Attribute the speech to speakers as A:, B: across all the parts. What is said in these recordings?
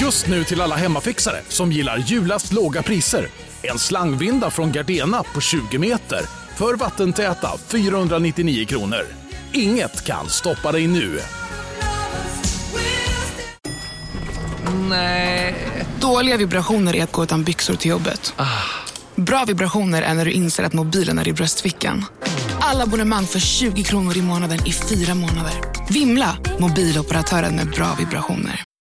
A: Just nu till alla hemmafixare som gillar julast låga priser. En slangvinda från Gardena på 20 meter för vattentäta 499 kronor. Inget kan stoppa dig nu.
B: Nej. Dåliga vibrationer är att gå utan byxor till jobbet. Bra vibrationer är när du inser att mobilen är i bröstfickan. Alla abonnemang för 20 kronor i månaden i fyra månader. Vimla! Mobiloperatören med bra vibrationer.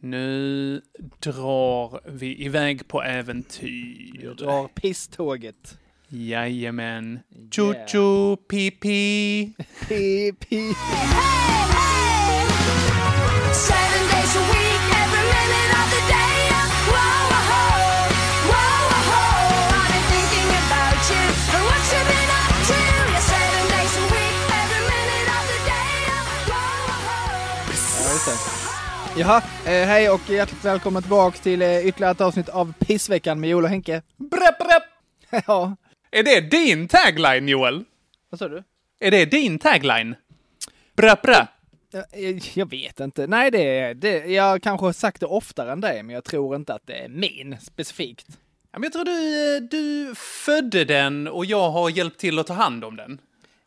C: Nu drar vi iväg på äventyr.
D: Nu drar pisståget.
C: Jajamän.
D: Yeah.
C: Tjo-tjo, pipi.
D: Pi, pi.
E: Seven days a week, every minute of the day. Whoa, whoa, whoa, whoa. I've been thinking about you and what you've been up to. Yeah, seven days a week, every minute of the day. Whoa, whoa.
D: Ja, just det. Jaha, eh, hej och hjärtligt välkomna tillbaka till eh, ytterligare ett avsnitt av Pissveckan med Joel och Henke.
C: Brepp, brepp.
D: ja,
C: Är det din tagline, Joel?
D: vad sa du?
C: Är det din tagline? Brepp, brepp.
D: Eh, eh, Jag vet inte. Nej, det är... Det, jag kanske har sagt det oftare än dig, men jag tror inte att det är min specifikt.
C: Ja, men Jag tror du, eh, du födde den och jag har hjälpt till att ta hand om den.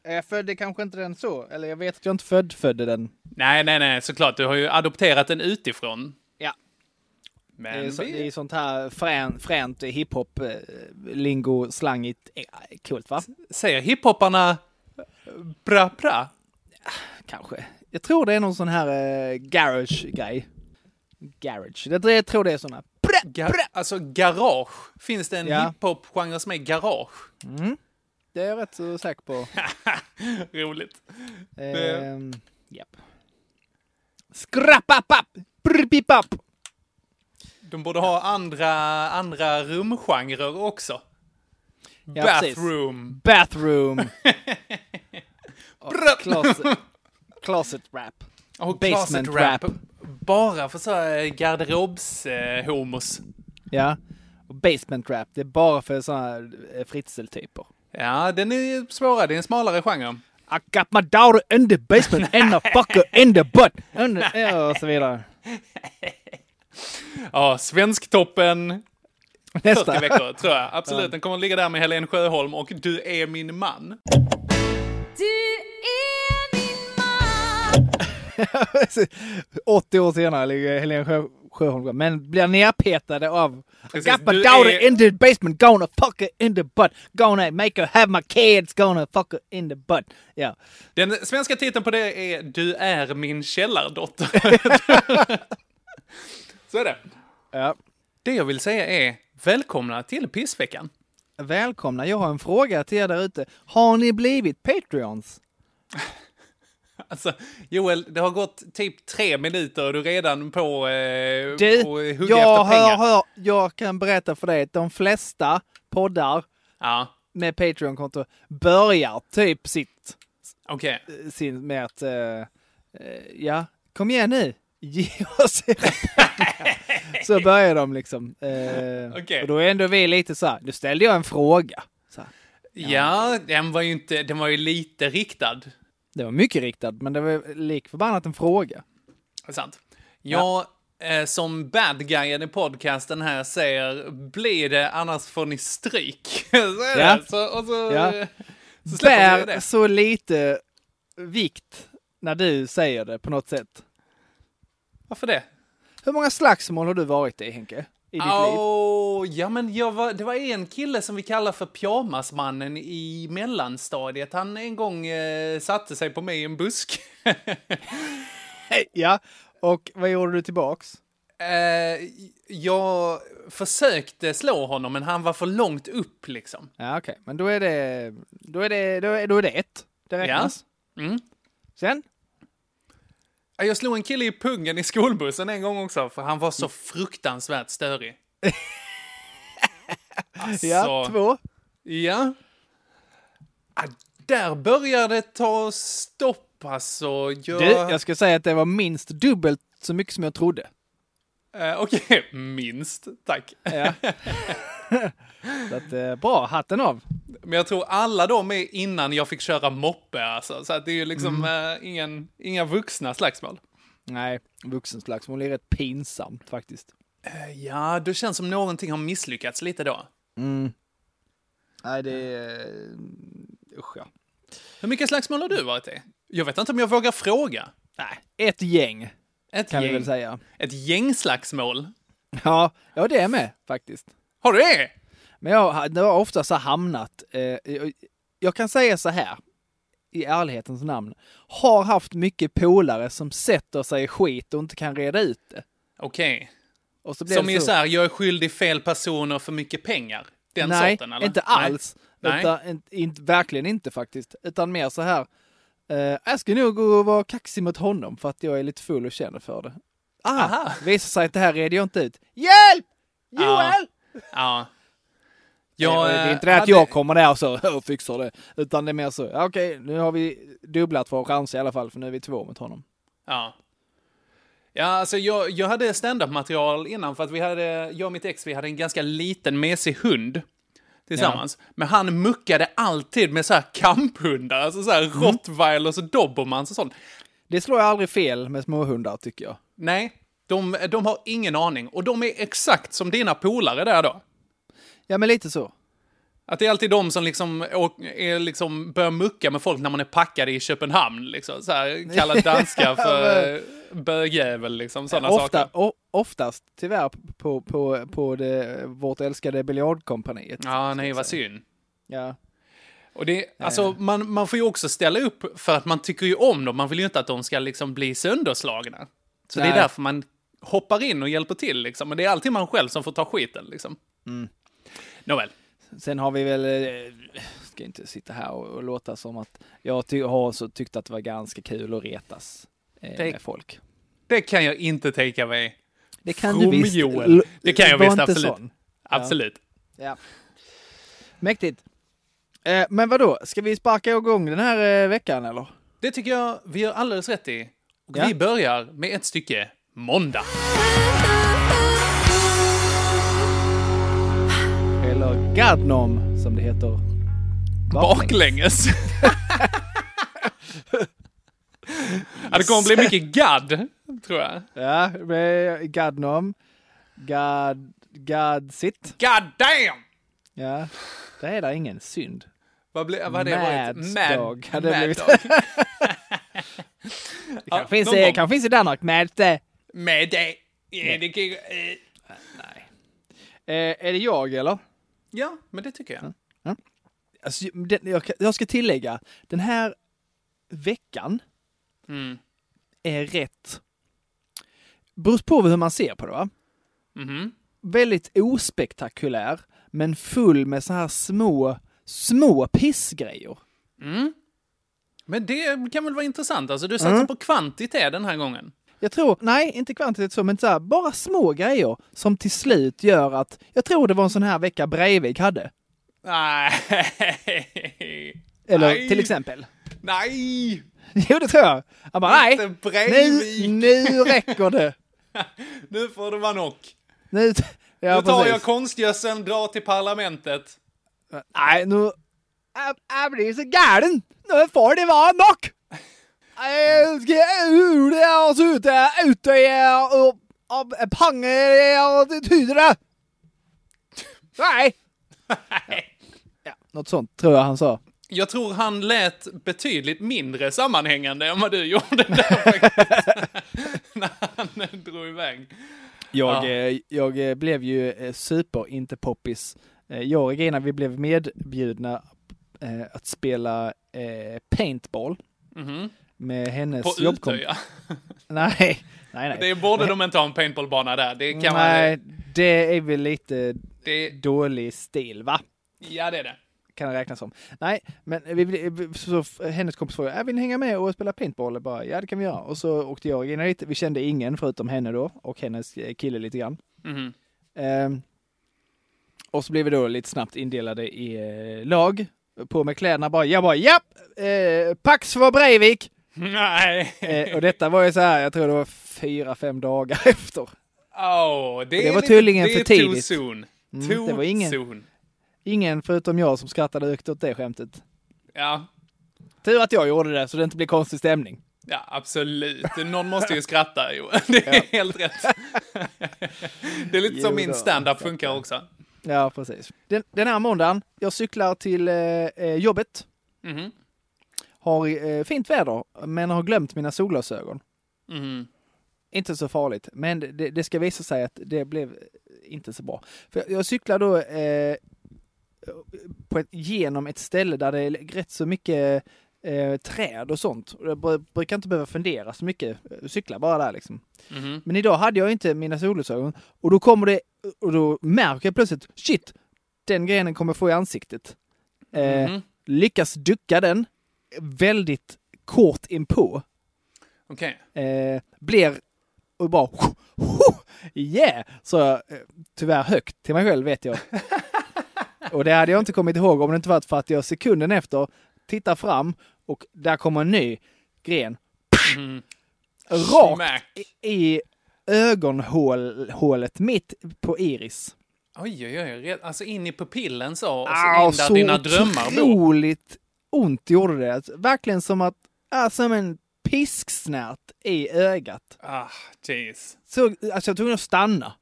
D: Eh, Jag födde kanske inte den så, eller jag vet att jag inte född, födde den.
C: Nej, nej, nej, såklart. Du har ju adopterat den utifrån.
D: Ja, det är,
C: Men
D: så, det är
C: vi...
D: sånt här frän, fränt hiphop-lingo-slangigt. eh, Coolt, va?
C: säger hiphopparna bra, bra?
D: Kanske. Jag tror det är någon sån här eh, garage-grej. Garage. Det, det, jag tror det är såna.
C: Ga- alltså garage. Finns det en
D: Ja.
C: hiphop-genre som är garage?
D: Det är jag rätt så säker på.
C: Roligt.
D: Ehm, Japp. Skrappapapp! Brrpipapp!
C: De borde ha andra, andra rumgenrer också.
D: Ja, precis.
C: Bathroom.
D: Bathroom!
C: Bra.
D: Closet, closet rap.
C: Och
D: Basement
C: basement rap.
D: rap.
C: Bara för så eh, här garderobshomos.
D: Ja. Och basement rap, det är bara för såna här eh, fritzeltyper.
C: Ja, den är svårare. Det är en smalare genre.
D: I got my daughter in the basement and a fucker in the butt! In the, ja, och så vidare.
C: Ja, Svensktoppen. 40
D: Nästa.
C: veckor, tror jag. Absolut. Den kommer ligga där med Helene Sjöholm och Du är min man.
E: Du är min man.
D: 80 år senare ligger Helene Sjö, Sjöholm kvar, men blir nerpetade av I
C: Precis,
D: got my
C: du
D: daughter
C: är-
D: in the basement, gonna fuck her in the butt, gonna make her have my kids, gonna fuck her in the butt. Ja.
C: Den svenska titeln på det är Du är min källardotter. så är det.
D: ja.
C: Det jag vill säga är välkomna till pissveckan.
D: Välkomna, jag har en fråga till er där ute. Har ni blivit Patreons?
C: Alltså, Joel, det har gått typ tre minuter och du är redan på, eh,
D: Du,
C: på hugga
D: jag,
C: efter pengar.
D: hör, hör, jag kan berätta för dig att de flesta poddar
C: Ja,
D: med Patreon-konto börjar typ sitt,
C: okej.
D: sin, med att, eh, eh, ja, kom igen nu, ge oss era pengar. Så börjar de liksom. Eh,
C: Okej.
D: Och då är ändå vi lite så här, nu ställde jag en fråga. Så här.
C: Ja, den var ju inte, den var ju lite riktad.
D: Det var mycket riktat, men det var lik förbannat en fråga.
C: Det är sant. Jag eh, som bad guyen i podcasten här säger, blir det annars får ni stryk. så är
D: Ja.
C: det. Så, och så,
D: Ja.
C: så släpper vi
D: Bär
C: det.
D: så lite vikt när du säger det på något sätt.
C: Varför det?
D: Hur många slagsmål har du varit i Henke? I ditt liv?
C: Åh, ja men jag var, det var en kille som vi kallar för pyjamasmannen i mellanstadiet. Han en gång eh, satte sig på mig i en busk.
D: Eh, Ja, och vad gjorde du tillbaks?
C: eh, jag försökte slå honom men han var för långt upp liksom.
D: Ja, okej, men då är det, då är det, då är, då är det ett. Det räknas.
C: Mm.
D: Sen?
C: Ja, Eh, Jag slog en kille i pungen i skolbussen en gång också för han var så fruktansvärt störig. Alltså,
D: Ja, två.
C: Ja. Ah, där börjar det ta stopp alltså. Jag...
D: Du, jag ska säga att det var minst dubbelt så mycket som jag trodde.
C: Eh, Okej, minst. Tack.
D: Så att, eh, bra, hatten av.
C: Men jag tror alla de är innan jag fick köra moppe alltså. Så att det är ju liksom eh, ingen, inga vuxna slagsmål.
D: Nej, vuxenslagsmål är rätt pinsamt faktiskt.
C: Ja, det känns som någonting har misslyckats lite då.
D: Nej, det är... Usch ja.
C: Hur mycket slagsmål har du varit i? Jag vet inte om jag vågar fråga.
D: Nej, ett gäng
C: Ett
D: kan vi
C: gäng,
D: väl säga.
C: Ett gängslagsmål?
D: Ja, ja det är med faktiskt.
C: Har du det?
D: Men jag har- det har ofta så hamnat, eh, jag- jag kan säga så här, i ärlighetens namn, har haft mycket polare som sätter sig i skit och inte kan reda ut det.
C: Okej.
D: Och så blir
C: Som
D: det
C: är så här, jag är skyldig fel personer för mycket pengar. Den
D: Nej,
C: sorten, eller?
D: inte alls.
C: Nej.
D: Utan, inte, inte, verkligen inte faktiskt. Utan mer så här, eh, jag ska nog gå och vara kaxig mot honom för att jag är lite full och känner för det. Ah,
C: Aha.
D: visar sig att det här reder jag inte ut. Hjälp! Joel!
C: Nej. Ja.
D: Ja,
C: Jag,
D: det är
C: eh,
D: inte det att
C: hade-
D: jag kommer där och så och fixar det. Utan det är mer så, ja, okej, nu har vi dubblat vår chans i alla fall, för nu är vi två mot honom.
C: Ja. Ja, alltså jag, jag hade stand-up-material innan för att vi hade, jag och mitt ex, vi hade en ganska liten mesig hund tillsammans. Men han muckade alltid med så här kamphundar, alltså så här rottweilers och dobermans och sånt.
D: Det slår jag aldrig fel med småhundar, tycker jag.
C: Nej, de, de har ingen aning. Och de är exakt som dina polare där då.
D: Ja, men lite så.
C: Att det är alltid de som liksom, åk- är liksom börjar mucka med folk när man är packade i Köpenhamn. Liksom. Så här, kallar danskar för eh, bögjävel, liksom sådana
D: Ofta,
C: saker.
D: o, oftast, tyvärr, på, på, på det, vårt älskade biljardkompaniet.
C: Ja, nej, vad synd.
D: Ja.
C: Och det, alltså, man, man får ju också ställa upp för att man tycker ju om dem. Man vill ju inte att de ska liksom bli sönderslagna. Så det
D: Nej.
C: är därför man hoppar in och hjälper till. Liksom. Men det är alltid man själv som får ta skiten. Liksom. Nåväl.
D: Sen har vi väl, eh, ska inte sitta här och, och låta som att jag ty- har så tyckt att det var ganska kul att retas eh,
C: Det-
D: med folk.
C: Det kan jag inte tänka mig.
D: Det kan
C: From Joel.
D: L-
C: Det kan jag
D: var
C: visst,
D: inte
C: absolut.
D: sån.
C: Absolut.
D: Ja. Mäktigt. Eh, men vad då? ska vi sparka igång den här eh, veckan eller?
C: Det tycker jag vi gör alldeles rätt i. Och
D: Ja.
C: vi börjar med ett stycke måndag.
D: Eller Gadnom som det heter.
C: Baklänges. ja, det kommer bli mycket gadd, tror jag.
D: Ja, eh, Gadnom. Gad... Gadsit.
C: God damn!
D: Ja. Det är där ingen synd.
C: Vad, ble, vad hade det varit?
D: Mads dog hade det
C: Mad
D: blivit.
C: dog.
D: Det kanske finns,
C: någon
D: i-
C: gång.
D: kanske finns i Danmark, men eh, inte...
C: Med det. Ja, det kan, ju- eh.
D: Eh, är det jag eller?
C: ja, men det tycker
D: Mm.
C: jag.
D: Alltså, den, jag, kan- jag ska tillägga, den här veckan
C: Mm.
D: är rätt... Beror på hur man ser på det va?
C: Mhm.
D: Väldigt ospektakulär, men full med så här små, små pissgrejer.
C: Men det kan väl vara intressant? Alltså, du satsar
D: Mm.
C: på kvantitet den här gången.
D: Jag tror, nej inte kvantitet så, men så här, bara små grejer som till slut gör att, jag tror det var en sån här vecka Breivik hade.
C: Nej.
D: Eller
C: Nej.
D: till exempel.
C: Nej!
D: Jo det tror jag. Han bara
C: Inte
D: nej,
C: Breivik."
D: nu, nu räcker det.
C: Nu får det vara nog.
D: Nu, ja,
C: nu tar
D: precis.
C: jag konstgödseln, drar till parlamentet.
D: Nej, nu... Jag, jag blir så galen! Nu får det vara nok! Jag ska ur det och så ute, ute i- och, och panger och det tyder det. Nej! Ja, något sånt tror jag han sa.
C: Jag tror han lät betydligt mindre sammanhängande än vad du gjorde där faktiskt. När han drog iväg.
D: Jag,
C: Ja.
D: eh, jag eh, blev ju eh, super inte poppis. Eh, Jag och Regina, vi blev medbjudna eh, att spela eh, paintball
C: Mhm.
D: med hennes
C: På
D: jobbkom-
C: Utöja.
D: Nej, nej, nej.
C: Det borde de inte ha en paintballbana där. Det kan
D: Nej,
C: man...
D: det är väl lite
C: Det,
D: dålig stil, va?
C: ja, det är det.
D: Kan det räknas som. Nej, men vi, vi- så, hennes kompis frågade, "Äh, vill ni hänga med och spela paintball? Jag bara, ja det kan vi göra. Och så åkte jag och Regina dit. Vi kände ingen förutom henne då och hennes eh, kille lite grann.
C: Mhm.
D: Ehm, och så blev vi då lite snabbt indelade i eh, lag På med kläderna bara. Jag bara japp! Eh, Pax för Breivik!
C: Nej.
D: Eh, och detta var ju så här, jag tror det var fyra, fem dagar efter.
C: Åh, det, är
D: var
C: lite-
D: tydligen
C: det är
D: för tidigt.
C: Too soon.
D: Mm,
C: too
D: det var ingen-
C: soon.
D: Ingen förutom jag som skrattade högt åt det skämtet.
C: Ja.
D: Tur att jag gjorde det så det inte blir konstig stämning.
C: ja, absolut. Någon måste ju skratta, jo. Det är helt rätt. det är lite
D: Jo
C: som min
D: då,
C: stand-up funkar också.
D: Ja, precis. Den, den här måndagen, jag cyklar till eh, eh, jobbet.
C: Mhm.
D: Har eh, fint väder, men har glömt mina solglasögon.
C: Mhm.
D: Inte så farligt, men det, det ska visa sig att det blev eh, inte så bra. För jag, jag cyklar då eh, på ett, genom ett ställe där det är rätt så mycket eh, träd och sånt. Och Jag br- brukar inte behöva fundera så mycket, Jag cyklar bara där liksom.
C: Mhm.
D: Men idag hade jag inte mina solglasögon och då kommer det och då märker jag plötsligt shit, den grenen kommer få i ansiktet. Eh,
C: Mhm.
D: Lyckas ducka den väldigt kort inpå.
C: Okej.
D: Eh, blir och bara "Huh, huh, yeah, så jag eh, tyvärr högt till mig själv vet jag. och det hade jag inte kommit ihåg om det inte varit för att jag sekunden efter tittar fram och där kommer en ny gren.
C: Mhm.
D: Rakt
C: Smack.
D: i ögonhålet mitt på iris.
C: Oj, oj, oj. Red- Alltså in i pupillen så, och så
D: Ah,
C: in där dina drömmar bor.
D: otroligt ont gjorde det. Alltså, Verkligen som att, ah, som en pisksnärt i ögat.
C: Ah, jeez.
D: Så, alltså jag var tvungen att stanna.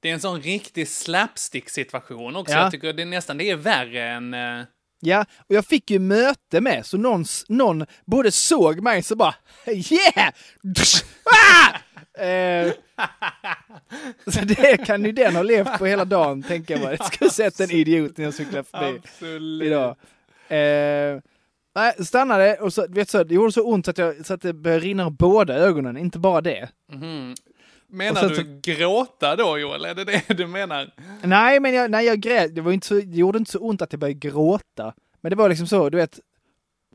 C: Det är en sån riktig slapstick-situation också.
D: Ja.
C: Jag tycker det är nästan det är värre än... eh,
D: Ja, och jag fick ju möte med, så någon, s- någon både såg mig så bara yeah! Dusch! Ah! Eh, så det kan ju den ha levt på hela dagen, tänker jag. bara. Jag skulle sett en idiot när jag cyklade förbi.
C: Absolut.
D: idag. Eh, nej, stannade och så, vet du, så, det gjorde så ont så att, jag, så att det började rinna ur båda ögonen, inte bara det.
C: Menar
D: Och
C: du
D: sen
C: gråta då, Joel? Är det det du menar?
D: Nej, men jag, nej, jag grät. Det, var inte så, det gjorde inte så ont att jag började gråta. Men det var liksom så, du vet,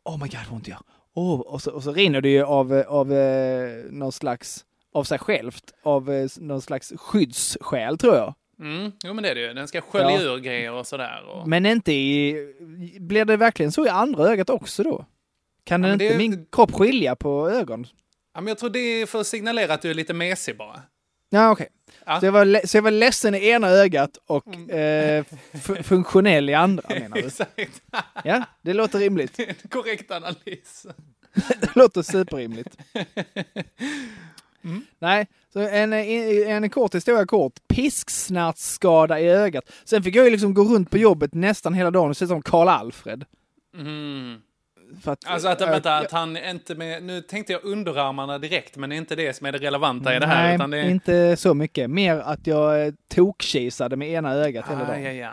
D: oh my god vad ont det gör. Oh, och, så, och så rinner det ju av, eh, av eh, någon slags, av sig självt, av eh, någon slags skyddsskäl tror jag.
C: Mm, jo, men det är det ju. Den ska skölja
D: Ja.
C: ur grejer och sådär. Och...
D: Men inte i, blir det verkligen så i andra ögat också då? Kan
C: Ja,
D: den
C: men
D: inte
C: det-
D: min kropp skilja på ögon?
C: Ja, men jag tror det är för att signalera att du är lite mesig bara.
D: Ja, okej.
C: Ja. Mm.
D: Så, jag var le- så jag var ledsen i ena ögat och eh, f- funktionell i andra menar du?
C: Exakt.
D: Ja, det låter rimligt.
C: Det är en korrekt analys.
D: Det låter superrimligt.
C: Mm.
D: Nej, så en, en kort historia kort. Pisksnärtskada i ögat. Sen fick jag ju liksom gå runt på jobbet nästan hela dagen och se som Karl-Alfred.
C: Mm.
D: För att,
C: Alltså att,
D: jag-
C: vänta, att han inte med... Nu tänkte jag underarmarna direkt, men det är inte det som är det relevanta i det här.
D: Nej,
C: utan det är...
D: inte så mycket. Mer att jag eh, tokkisade med ena ögat hela
C: Ah,
D: dagen.
C: ja, ja.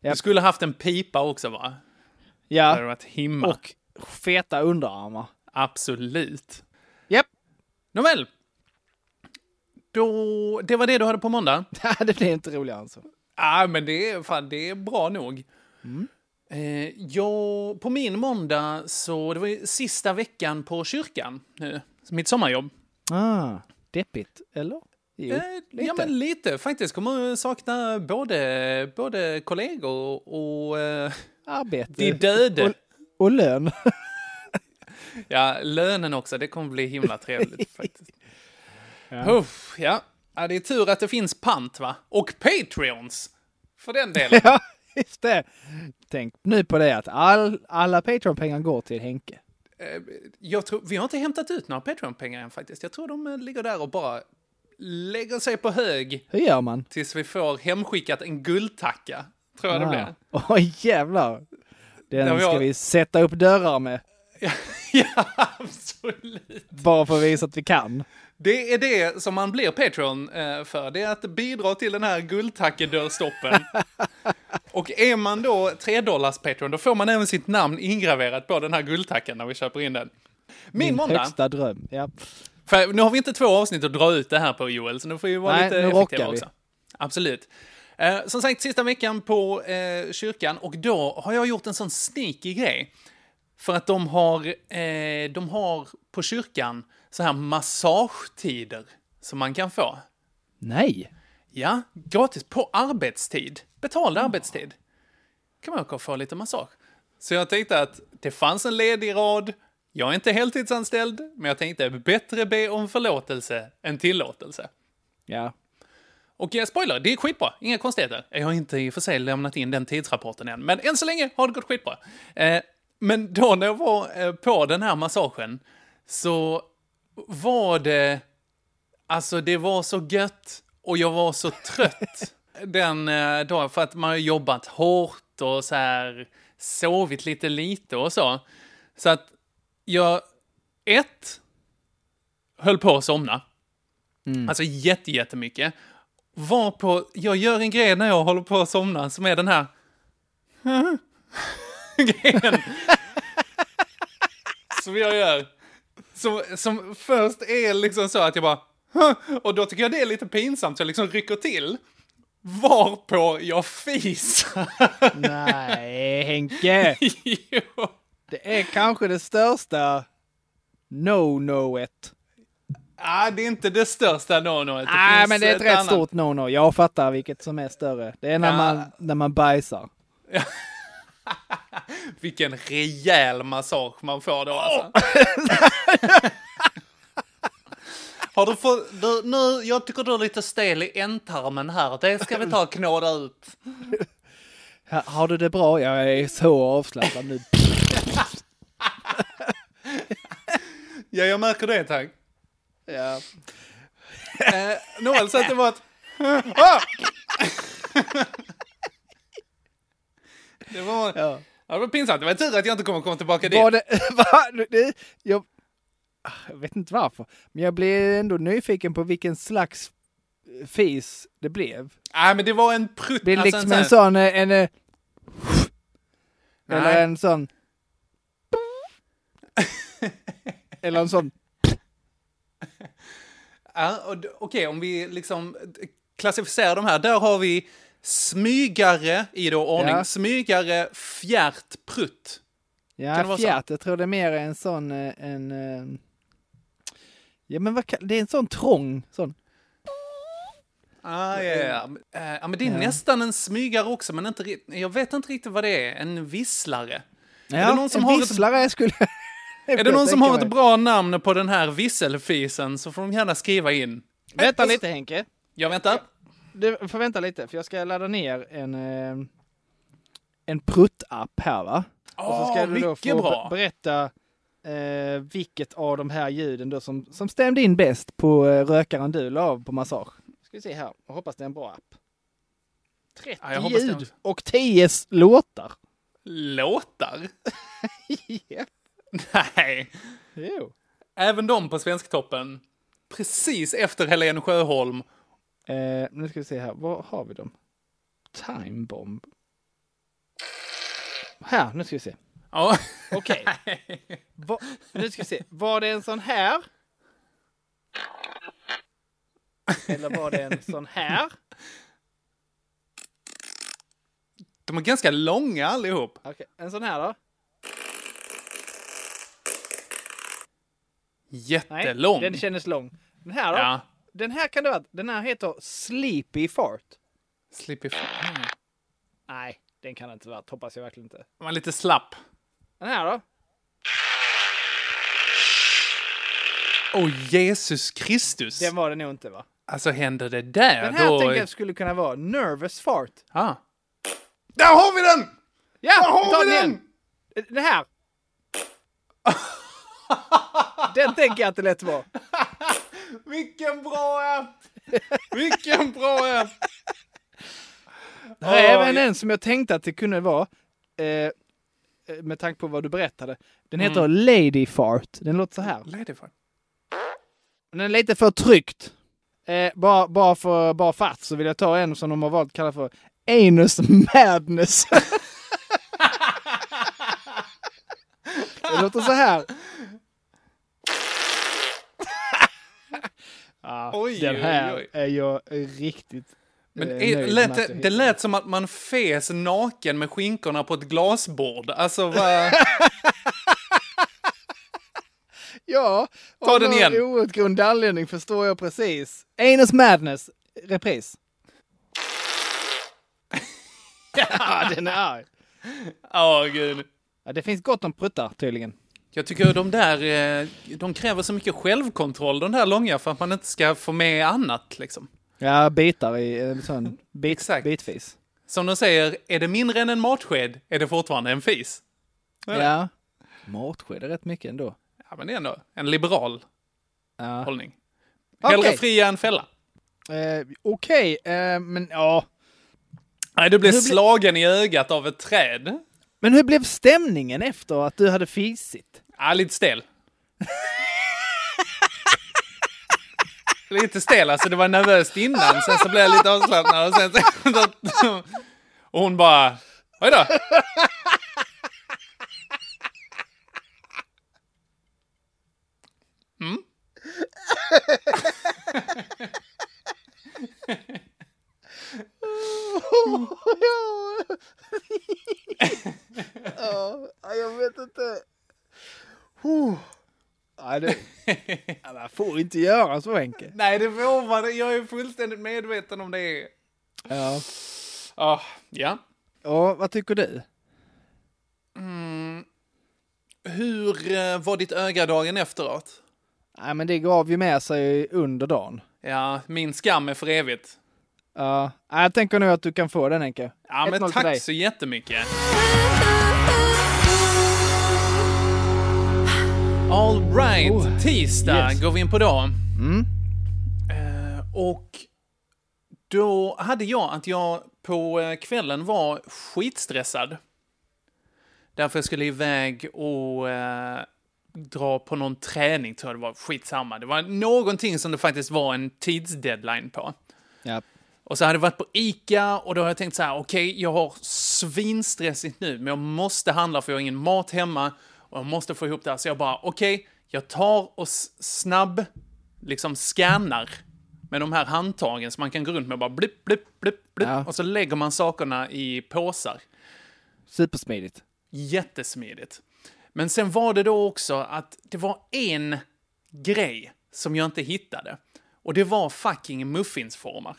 D: Ja.
C: Du skulle haft en pipa också, va? Det hade
D: Ja,
C: varit himla.
D: och feta underarmar.
C: Absolut.
D: Japp.
C: Nåväl. Då, det var det du hade på måndag?
D: det blev inte roligare än så.
C: Ja, men det är, fan, det är bra nog. Eh, jag, på min måndag, så det var ju sista veckan på kyrkan nu, mitt sommarjobb.
D: Ah, deppigt, eller?
C: Eh,
D: Jo,
C: Ja,
D: lite.
C: men lite faktiskt. Kommer sakna både, både kollegor och eh,
D: Arbete
C: de döde.
D: och lön.
C: Ja, lönen också. Det kommer bli himla trevligt faktiskt. ja. Uff, ja. ja, det är tur att det finns pant, va? Och Patreons! För den delen.
D: ja, just det. Tänk nu på det att all, alla Patreon-pengar går till Henke.
C: Jag tror, vi har inte hämtat ut några Patreon-pengar än faktiskt. Jag tror de eh, ligger där och bara lägger sig på hög
D: Hur gör man?
C: tills vi får hemskickat en guldtacka. Tror jag det blir.
D: Åh jävlar! Den
C: Ja, men
D: ska
C: jag-
D: vi sätta upp dörrar med,
C: Ja, absolut.
D: bara för att visa att vi kan.
C: Det är det som man blir Patreon eh, för. Det är att bidra till den här guldtackedörrstoppen. Och är man då 3 dollars Patreon, då får man även sitt namn ingraverat på den här guldtackan när vi köper in den. Min,
D: Min
C: måndag.
D: högsta dröm. Ja.
C: För nu har vi inte två avsnitt att dra ut det här på Joel, så nu får vi vara
D: Nej,
C: lite
D: nu
C: effektiva
D: rockar vi.
C: också. Absolut. Eh, som sagt, sista veckan på eh, kyrkan och då har jag gjort en sån sneaky grej. För att de har, eh, de har på kyrkan så här massagetider som man kan få.
D: Nej!
C: Ja, gratis på arbetstid. Betald arbetstid. Kan man åka och få lite massage. Så jag tänkte att det fanns en ledig rad. Jag är inte heltidsanställd, men jag tänkte bättre be om förlåtelse än tillåtelse.
D: Ja.
C: Och eh, spoiler, det är skitbra. Inga konstigheter. Jag har inte i och för sig lämnat in den tidsrapporten än, men än så länge har det gått skitbra. Eh, men då när jag var eh, på den här massagen så var det... Alltså, det var så gött och jag var så trött den eh, dagen för att man har jobbat hårt och så här sovit lite lite och så. Så att jag, ett, höll på att somna. Alltså jätte, jättemycket. Var på, jag gör en grej när jag håller på att somna som är den här... grejen. som jag gör. Som, som först är liksom så att jag bara... och då tycker jag det är lite pinsamt så jag liksom rycker till. Varpå jag fisar.
D: Nej, Henke.
C: Jo.
D: Det är kanske det största no-noet.
C: ah, det är inte det största no-noet. Det
D: Nej,
C: finns
D: men det är ett rätt
C: annat.
D: stort no-no. Jag fattar vilket som är större. Det är när,
C: Ja.
D: man, när man bajsar.
C: Vilken rejäl massage man får då alltså. Har du fått, du, nu, jag tycker du är lite stel i ändtarmen här. Det ska vi ta och knåda ut.
D: Ha, har du det bra? Jag är så avslappnad nu.
C: Ja, jag märker det tack.
D: ja.
C: Eh, Noel sa att det var ett... Ah! det var... Ja.
D: Ja.
C: Det var pinsamt. Det var tur att jag inte kommer komma tillbaka dit.
D: Var det, va? Det, jag, Ah, jag vet inte varför, men jag blev ändå nyfiken på vilken slags eh, fis det blev.
C: Nej, men det var en prutt.
D: Blev det
C: alltså
D: liksom en
C: sån-
D: sån, eh, en... eh, Eller
C: Nej.
D: en sån... Eller en sån...
C: Ja, och d- Okej, om vi liksom eh, klassificerar de här. Där har vi smygare, i då ordning,
D: Ja.
C: smygare, fjärt, prutt. det
D: Ja,
C: vara så?
D: fjärt. Jag tror det är mer en sån... eh, En, eh, ja, men vad kan, det är en sån trång. Sån.
C: Ah, ja, ja. Eh, ja, men det är nästan en smygare också, men inte, ri- jag vet inte riktigt vad det är. En visslare.
D: Ja,
C: det någon som
D: en
C: har ett-
D: visslare skulle
C: Är det någon som har ett bra namn på den här visselfisen så får de gärna skriva in.
D: Vänta lite Henke.
C: Jag väntar.
D: Du får vänta lite, för jag ska ladda ner en, eh, en prutt-app här va?
C: Åh, Ah, mycket bra.
D: be- berätta eh, vilket av de här ljuden då som, som stämde in bäst på eh, rökaren du la av på massage. Ska vi se här, jag hoppas det är en bra app. 30
C: Ja, jag hoppas det
D: ljud
C: också.
D: och 10 s- låtar.
C: Låtar?
D: Japp.
C: Nej.
D: Jo.
C: Även de på Svensktoppen. Precis efter Helen Sjöholm.
D: Eh, nu ska vi se här, var har vi dem? Time bomb. Här, nu ska vi se.
C: Ja.
D: Okej. Va, nu ska vi se. Var det en sån här? Eller var det en sån här?
C: De är ganska långa allihop.
D: Okej, en sån här då?
C: Jättelång.
D: den kändes lång. Den här då?
C: Ja.
D: Den här kan det vara. Den här heter Sleepy Fart.
C: Slipp ifrån.
D: Nej, den kan det inte vara. Hoppas jag verkligen inte.
C: De var lite slapp.
D: Den här då?
C: Åh, Jesus Kristus.
D: Den var det nog inte va?
C: Alltså, händer det där,
D: Den här
C: då...
D: tänker jag skulle kunna vara Nervous Fart.
C: Ah. Där har vi den!
D: Ja,
C: har
D: vi tar
C: vi
D: den
C: den!
D: igen. Den här. den tänker jag att det lätt var.
C: Vilken bra app! Vilken bra app!
D: Här är
C: Åh,
D: även en som jag tänkte att det kunde vara. Eh, med tanke på vad du berättade. Den heter
C: Mm.
D: Lady Fart. Den låter så här.
C: Ladyfart.
D: Den är lite för tryckt. Eh, bara, bara för bara fatt så vill jag ta en som de har valt kalla för Anus Madness. det låter så här.
C: Oj,
D: Den här
C: oj, oj.
D: är jag riktigt
C: Men
D: eh,
C: är,
D: nöjd
C: lät
D: med
C: det,
D: att
C: det
D: jag hittade.
C: lät som att man fes naken med skinkorna på ett glasbord. Alltså, vad...
D: Ja,
C: Ta
D: av
C: den
D: någon
C: igen.
D: outgrundlig anledning förstår jag precis. Anus Madness, repris. ja, den är arg.
C: Åh, gud.
D: Ja, det finns gott om pruttar tydligen.
C: Jag tycker de där, eh, de kräver så mycket självkontroll, de där långa, för att man inte ska få med annat liksom.
D: Ja, bitar i eh, sån bit,
C: Exakt.
D: bitfis.
C: Som de säger, är det mindre än en matsked är det fortfarande en fis.
D: Ja. Matsked är rätt mycket ändå.
C: Ja, men det är ändå en liberal
D: Ja.
C: hållning.
D: Okej.
C: Hellre fria än fälla.
D: Eh, Okej, eh, men ja.
C: Nej, du blev
D: Hur blir-
C: slagen i ögat av ett träd.
D: Men hur blev stämningen efter att du hade fisit?
C: Ja, lite stel. lite stel, alltså det var nervöst innan, sen så blev jag lite avslappnad och sen så... och hon bara... Oj då!
D: Ja, jag vet inte. Huh. Nej, det... Ja, man får inte göra så, Henke.
C: Nej, det får man. Jag är fullständigt medveten om det.
D: Ja.
C: Ah, ja.
D: ja, vad tycker du?
C: Hur eh, var ditt öga dagen efteråt?
D: Nej, men det gav ju med sig under dagen.
C: Ja, min skam är för evigt.
D: Ja, nej, jag tänker nu att du kan få den, Henke.
C: Ja,
D: 1-0
C: men
D: till dig.
C: tack så jättemycket. All right, tisdag
D: yes.
C: går vi in på då. Eh, och då hade jag att jag på eh, kvällen var skitstressad. Därför jag skulle iväg och eh, dra på någon träning, tror jag det var. Skitsamma. Det var någonting som det faktiskt var en tidsdeadline på.
D: Ja.
C: Och så hade jag varit på Ica och då har jag tänkt så här, okej, jag har svinstressigt nu, men jag måste handla för jag har ingen mat hemma och jag måste få ihop det här. Så jag bara, okej, jag tar och s- snabb, liksom scannar med de här handtagen som man kan gå runt med och bara blipp, blipp, blipp, blipp.
D: Ja.
C: Och så lägger man sakerna i påsar.
D: Supersmidigt.
C: Jättesmidigt. Men sen var det då också att det var en grej som jag inte hittade. Och det var fucking muffinsformar.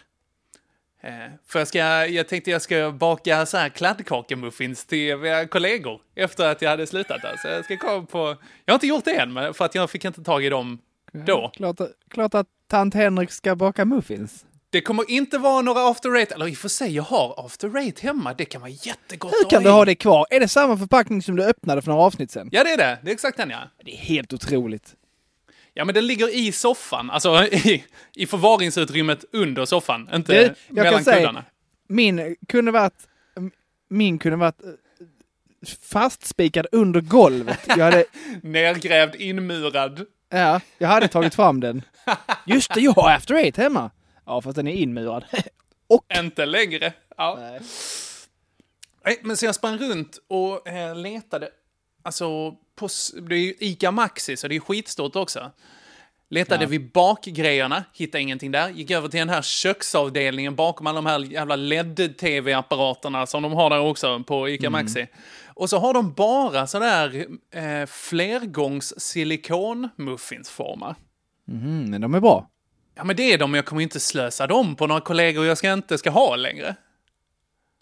C: Eh, för jag, ska, jag tänkte jag ska baka så här kladdkakemuffins till mina kollegor efter att jag hade slutat där. Så jag ska komma på... Jag har inte gjort det än, men- för att jag fick inte tag i dem då.
D: Klart, klart att tant Henrik ska baka muffins.
C: Det kommer inte vara några after eight, eller i och för sig, jag har after eight hemma. Det kan vara jättegott
D: Hur
C: att
D: kan
C: ha
D: du
C: i.
D: ha det kvar? Är det samma förpackning som du öppnade för några avsnitt sedan?
C: Ja, det är det. Det är exakt den, ja.
D: Det är helt otroligt.
C: Ja, men den ligger i soffan, alltså i, i förvaringsutrymmet under soffan, inte
D: Du, jag
C: mellan
D: kan säga-
C: kuddarna.
D: Min kunde varit... Min kunde varit eh, fastspikad under golvet. Jag hade,
C: Nergrävd, inmurad.
D: ja, jag hade tagit fram den. Just det, jag har After Eight hemma. Ja, fast den är inmurad.
C: Inte längre. Ja. Nej. men så jag sprang runt och eh, letade, alltså, på, s- det är ju Ica Maxi, så det är skitstort också. Letade vid bakgrejerna, hittade ingenting där. Gick över till den här köksavdelningen bakom alla de här jävla LED-TV-apparaterna som de har där också på Ica Maxi. Och så har de bara sådär eh, flergångs silikonmuffinsformar.
D: Mm, men de är bra.
C: Ja, men det är de, jag kommer ju inte slösa dem på några kollegor jag ska inte ska ha längre.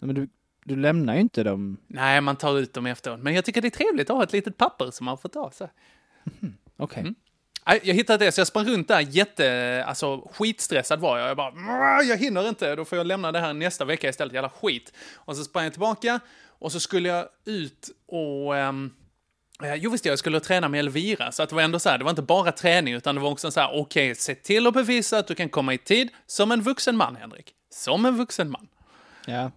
D: Ja, Men du, du lämnar ju inte dem.
C: Nej, man tar ut dem efteråt. Men jag tycker det är trevligt att ha ett litet papper som man får ta. Så.
D: Okej.
C: Nej, Jag hittade det, så jag sprang runt där jätte... Alltså, skitstressad var jag. Jag bara, "Mrr, jag hinner inte. Då får jag lämna det här nästa vecka istället, jävla skit. Och så sprang jag tillbaka och så skulle jag ut och... ehm, eh, Jo, visst jag skulle träna med Elvira, så att det var ändå så här, det var inte bara träning, utan det var också så här, okej, se till att bevisa att du kan komma i tid som en vuxen man, Henrik. Som en vuxen man.
D: Ja.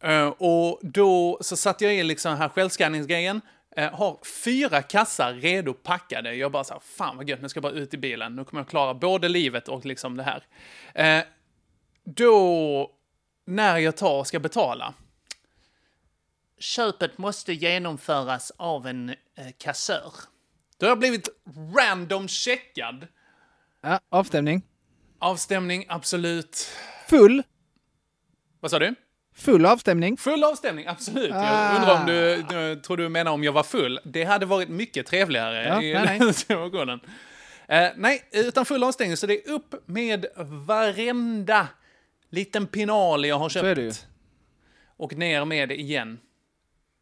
C: Eh, och då så satte jag i liksom den här självskanningsgrejen. eh, har fyra kassar redo packade. Jag bara så här, fan vad gött, nu ska jag bara ut i bilen. Nu kommer jag klara både livet och liksom det här. Eh, då, när jag tar och ska betala. Köpet måste genomföras av en eh, kassör. Då har jag blivit random checkad.
D: ja avstämning.
C: Avstämning, absolut.
D: Full.
C: Vad sa du?
D: Full avstämning.
C: Full avstämning, absolut.
D: Ah.
C: Jag undrar om du, du tror du menar om jag var full. Det hade varit mycket trevligare
D: Ja,
C: i
D: nej,
C: den situationen. Eh, nej, utan full avstängning. Så det är upp med varenda liten penal jag har
D: är det ju.
C: köpt. Och ner med det igen.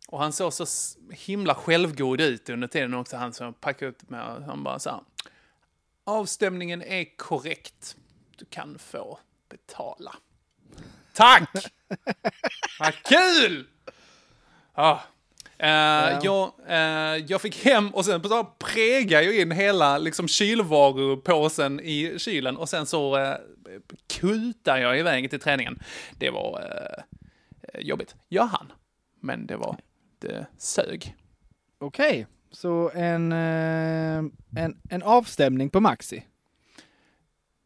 C: Och han såg så s- himla självgod ut under tiden också, han som packade upp med Han bara så här, avstämningen är korrekt. Du kan få betala. Tack! Vad kul! Ah. Eh, jag, eh, jag fick hem och sen så pregade jag in hela liksom, kylvarupåsen i kylen och sen så eh, kutade jag iväg till träningen. Det var eh, jobbigt. Jag hann, men det var det sög.
D: Okej, så en, eh, en, en avstämning på Maxi.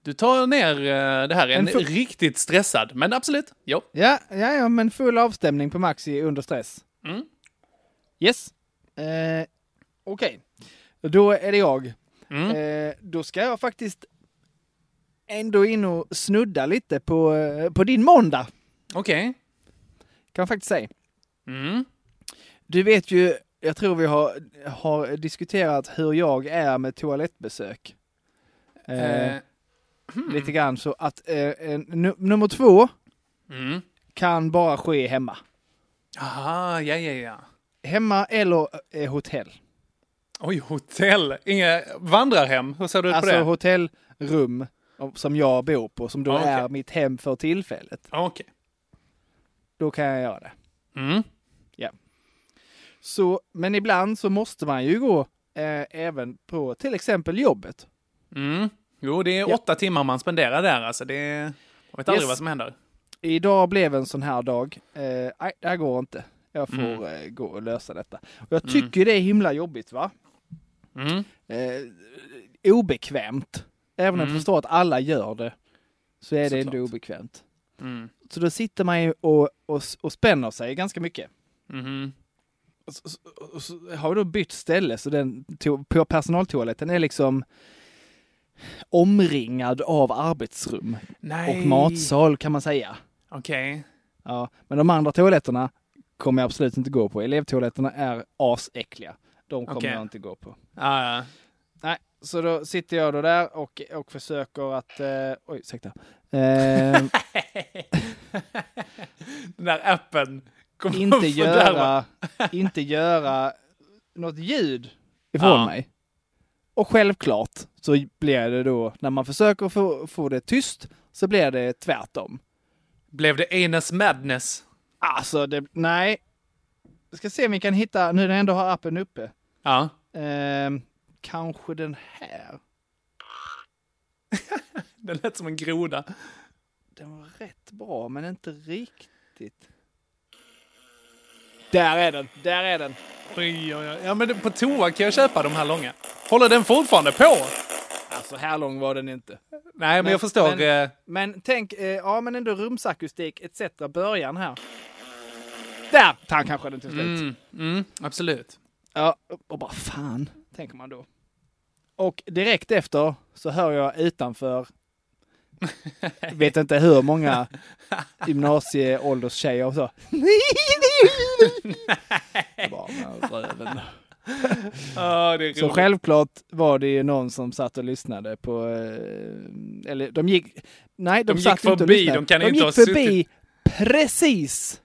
C: Du tar ner eh, det här, en,
D: En full-
C: riktigt stressad, men absolut, jo.
D: Ja, ja, ja, men full avstämning på Maxi under stress.
C: Mm.
D: Yes. Eh, Okej, då är det jag.
C: Mm.
D: Eh, då ska jag faktiskt ändå in och snudda lite på, eh, på din måndag,
C: Okej.
D: kan jag faktiskt säga.
C: Mm.
D: Du vet ju, jag tror vi har, har diskuterat hur jag är med toalettbesök. Eh,
C: Eh,
D: Lite grann så att eh, en- nu- nummer två
C: mm.
D: kan bara ske hemma.
C: Aha, ja, ja, ja.
D: Hemma eller eh, hotell.
C: Oj, hotell. Inga vandrarhem. Hur ser du ut
D: Alltså
C: på det?
D: hotellrum om- som jag bor på, som då
C: Ja, okej.
D: är mitt hem för tillfället.
C: Okej.
D: Då kan jag göra det.
C: Mm.
D: Så, men ibland så måste man ju gå eh, även på till exempel jobbet.
C: Mm. Jo, det är
D: Ja.
C: åtta timmar man spenderar där alltså. Det är... Man vet aldrig
D: Yes.
C: vad som händer.
D: Idag blev en sån här dag. Eh, Nej, det här går inte. Jag får
C: Mm.
D: eh, gå och lösa detta. Och jag tycker det är himla jobbigt va?
C: Mm.
D: Eh, obekvämt. Även om jag förstår att alla gör det. Så är det ändå
C: Mm. Såklart.
D: obekvämt.
C: Mm.
D: Så då sitter man ju och, och, och spänner sig ganska mycket.
C: Mhm.
D: Och så, så, och så har vi då bytt ställe så den to- på personaltoaletten är liksom omringad av arbetsrum
C: Nej.
D: och matsal kan man säga.
C: Okej.
D: Ja, men de andra toaletterna kommer jag absolut inte gå på. Elevtoaletterna är asäckliga. De kommer
C: Okej.
D: jag inte gå på.
C: Ja, ja.
D: Nej, så då sitter jag då där och, och försöker att... Eh, oj, ursäkta. Eh,
C: Den där appen. Kommer
D: inte,
C: att fördärva.
D: göra, inte göra något ljud ifrån
C: Ja.
D: mig. Och självklart så blir det då, när man försöker få, få det tyst, så blir det tvärtom.
C: Blev det Enes Madness?
D: Alltså, det, nej. Vi ska se om vi kan hitta, nu när jag ändå har appen uppe.
C: Ja.
D: Ehm, kanske den här.
C: Den lät som en groda.
D: Den var rätt bra, men inte riktigt. Där är den, där är den.
C: Oj, oj, oj. Ja, men det- på toa kan jag köpa de här långa. Håller den fortfarande på?
D: Alltså, här lång var den inte.
C: Nej, men, jag förstår.
D: Men,
C: eh,
D: men tänk, eh, ja men ändå rumsakustik etc. början här. Där! Han kanske den till slut.
C: Mm, mm, absolut.
D: Ja, och bara fan, tänker man då. Och direkt efter så hör jag utanför, vet inte hur många gymnasieålders tjejer och så. Bara med röven.
C: Ja, Ah, det är
D: Så
C: roligt.
D: självklart var det ju någon som satt och lyssnade på, eh, eller de gick, nej de,
C: De gick
D: satt inte och
C: förbi,
D: lyssnade.
C: de kan inte
D: gick
C: ha
D: förbi
C: suttit-
D: precis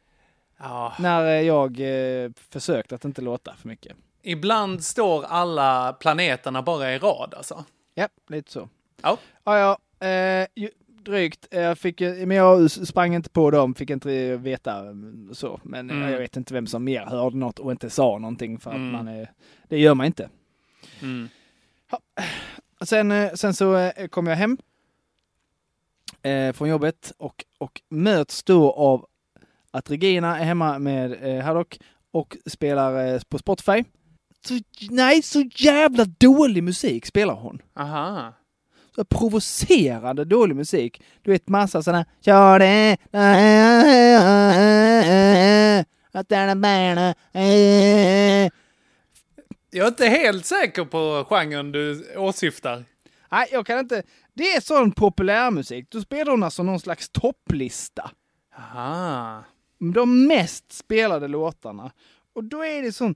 C: Ja.
D: när eh, jag eh, försökte att inte låta för mycket.
C: Ibland står alla planeterna bara i rad alltså.
D: Ja, lite så.
C: Ja.
D: Ja, ja, eh, ju- drygt. Eh, Jag fick, ju- men jag s- sprang inte på dem, fick inte veta mm, så. Men eh,
C: Mm.
D: jag vet inte vem som mer hörde något och inte sa någonting för att
C: Mm.
D: man, eh, det gör man inte.
C: Mm.
D: Sen, eh, sen så eh, kom jag hem eh, från jobbet och, och möts då av att Regina är hemma med eh, Haddock och spelar eh, på Spotify. Så, nej, så jävla dålig musik spelar hon.
C: Aha.
D: Så provocerande dålig musik. Du vet massa sådana... Kör det... att det är den bärna, eh.
C: Jag är inte helt säker på genren du åsyftar.
D: Nej, jag kan inte... Det är sån populärmusik. Då spelar hon alltså någon slags topplista.
C: Aha.
D: de mest spelade låtarna. Och då är det sån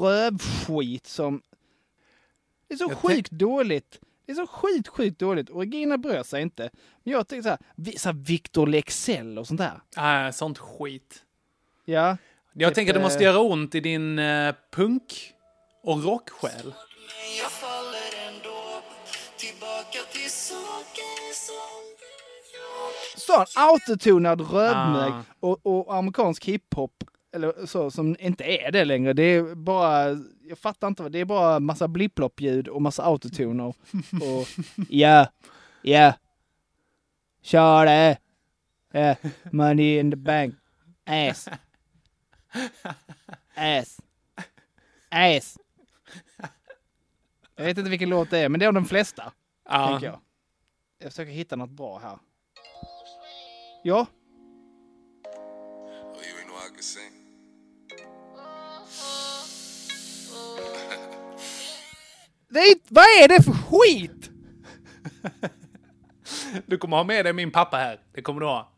D: rövskit som... Det är så
C: Jag tänk-
D: sjukt dåligt. Det är så sjukt, sjukt dåligt. Och Regina bryr sig inte. Men jag tänker så här, vi- så här Victor Leksell och sånt där.
C: Äh, sånt skit.
D: Ja.
C: Ah, Jag tänker att
D: eh,
C: det måste göra ont i din eh, punk och rocksjäl.
F: Men jag faller ändå tillbaka till saker som jag
D: Sån autotonad rödmög och, och amerikansk hiphop, eller så, som inte är det längre. Det är bara, jag fattar inte vad, det är bara massa blipplopp-ljud och massa autotoner. Och ja, ja, kör det! Ja, money in the bank. Ass. Ass. Ass. Jag vet inte vilken låt det är, men det är de flesta.
C: Ja.
D: tänker jag. Jag försöker hitta något bra här. Ja,
F: Oh, you ain't know I can sing.
D: det är, inte- vad är det för skit?
C: Du kommer ha med dig min pappa här. Det kommer du ha.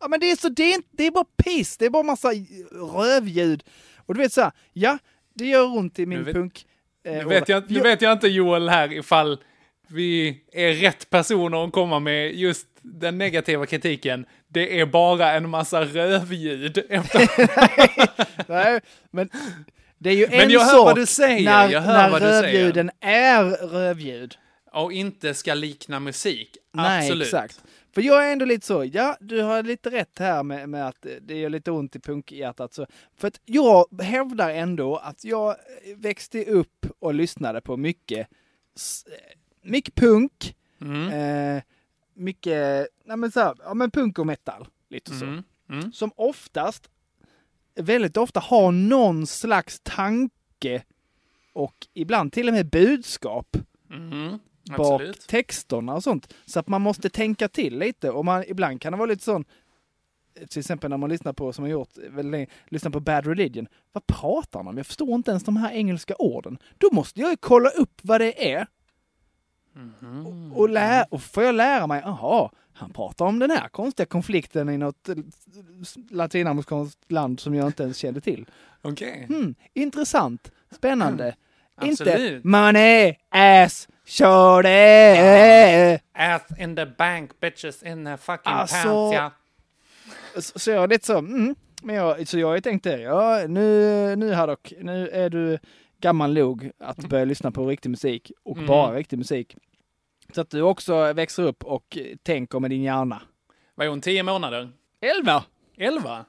D: Ja, men det är, så, det, är inte, det är bara piss, det är bara massa rövljud. Och du vet så här, ja, det gör ont i min
C: Nu vet-
D: punk. eh,
C: Nu
D: och-
C: vet jag, nu vet jag inte Joel här ifall vi är rätt personer att komma med just den negativa kritiken. Det är bara en massa rövljud. Efter.
D: Nej, men det är ju
C: Men
D: en
C: jag hör
D: sak
C: vad du säger,
D: när,
C: jag hör
D: när
C: vad du säger.
D: rövljuden är rövljud.
C: Och inte ska likna musik.
D: Nej,
C: Absolut.
D: exakt. För jag är ändå lite så, ja, du har lite rätt här med, med att det gör lite ont i punkhjärtat. Så, för att jag hävdar ändå att jag växte upp och lyssnade på mycket, s- mycket punk, eh, mycket, nej men så här, ja men punk och metal, lite så. Som oftast, väldigt ofta har någon slags tanke och ibland till och med budskap bak
C: Absolut.
D: texterna och sånt. Så att man måste tänka till lite och man, ibland kan det vara lite sån till exempel när man lyssnar på, som jag gjort väldigt länge, lyssnar på Bad Religion. Vad pratar han om? Jag förstår inte ens de här engelska orden. Då måste jag ju kolla upp vad det är. Och, och, lä- och får jag lära mig, aha, han pratar om den här konstiga konflikten i något eh, latinamerikanskt land som jag inte ens kände till.
C: Okej.
D: Mm, intressant, spännande. Inte
C: Absolut.
D: money, ass, kör det!
C: Ass in the bank, bitches in the fucking
D: Alltså-
C: pants, ja.
D: Så, så jag är lite så, mm. Men jag, så jag tänkte, ja nu, nu Haddock, nu är du gammal nog att börja lyssna på riktig musik och bara riktig musik. Så att du också växer upp och eh, tänker med din hjärna.
C: Vad är hon, tio månader?
D: Elva!
C: Elva?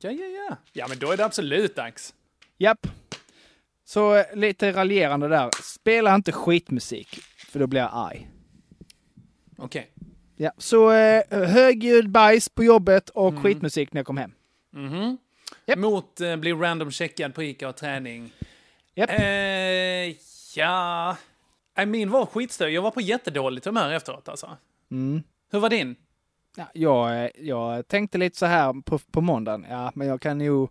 C: Ja, ja, ja. Ja, men då är det absolut dags.
D: Japp. Så eh, lite raljerande där. Spela inte skitmusik, för då blir jag arg.
C: Okej.
D: Ja, så eh, högljudd bajs på jobbet och skitmusik när jag kom hem.
C: Mot eh, bli random checkad på ICA och träning.
D: Japp.
C: Eh, ja... Nej, min var skitstöd. Jag var på jättedåligt humör efteråt alltså.
D: Mm.
C: Hur var din?
D: Ja, jag, eh, jag tänkte lite så här på, på måndagen, ja men jag kan ju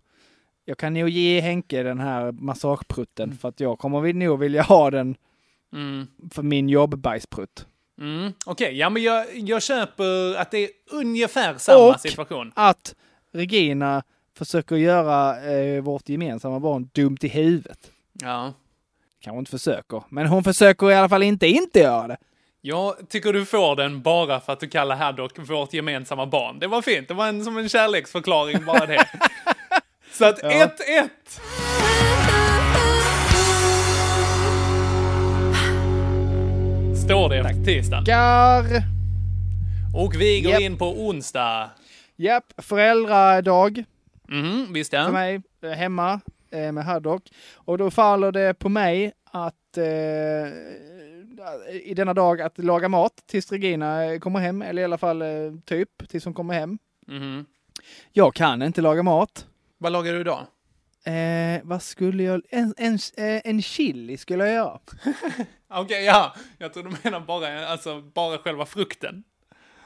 D: jag kan ju ge Henke den här massageprutten för att jag kommer väl nog vilja ha den för min jobbbajsprutt.
C: Mm, Okej, ja men jag, jag köper att det är ungefär samma
D: Och-
C: situation.
D: Att Regina försöker göra eh, vårt gemensamma barn dumt i huvudet.
C: Ja.
D: Kanske inte försöker, men hon försöker i alla fall inte inte göra det.
C: Jag tycker du får den bara för att du kallar Haddock vårt gemensamma barn. Det var fint, det var en, som en kärleksförklaring bara det. Så att 1-1! Står det efter tisdagen.
D: Gar!
C: Och vi går
D: Japp.
C: in på onsdag.
D: Japp, föräldradag.
C: Mm, visst
D: för
C: ja.
D: mig eh, hemma eh, med Haddock. Och då faller det på mig att eh, i denna dag att laga mat tills Regina eh, kommer hem, eller i alla fall eh, typ tills hon kommer hem.
C: Mhm.
D: Jag kan inte laga mat.
C: Vad lagar du idag?
D: Eh, vad skulle jag... En, en, eh, en chili skulle jag göra.
C: Okej, ja. Jag tror du menar bara, alltså, bara själva frukten.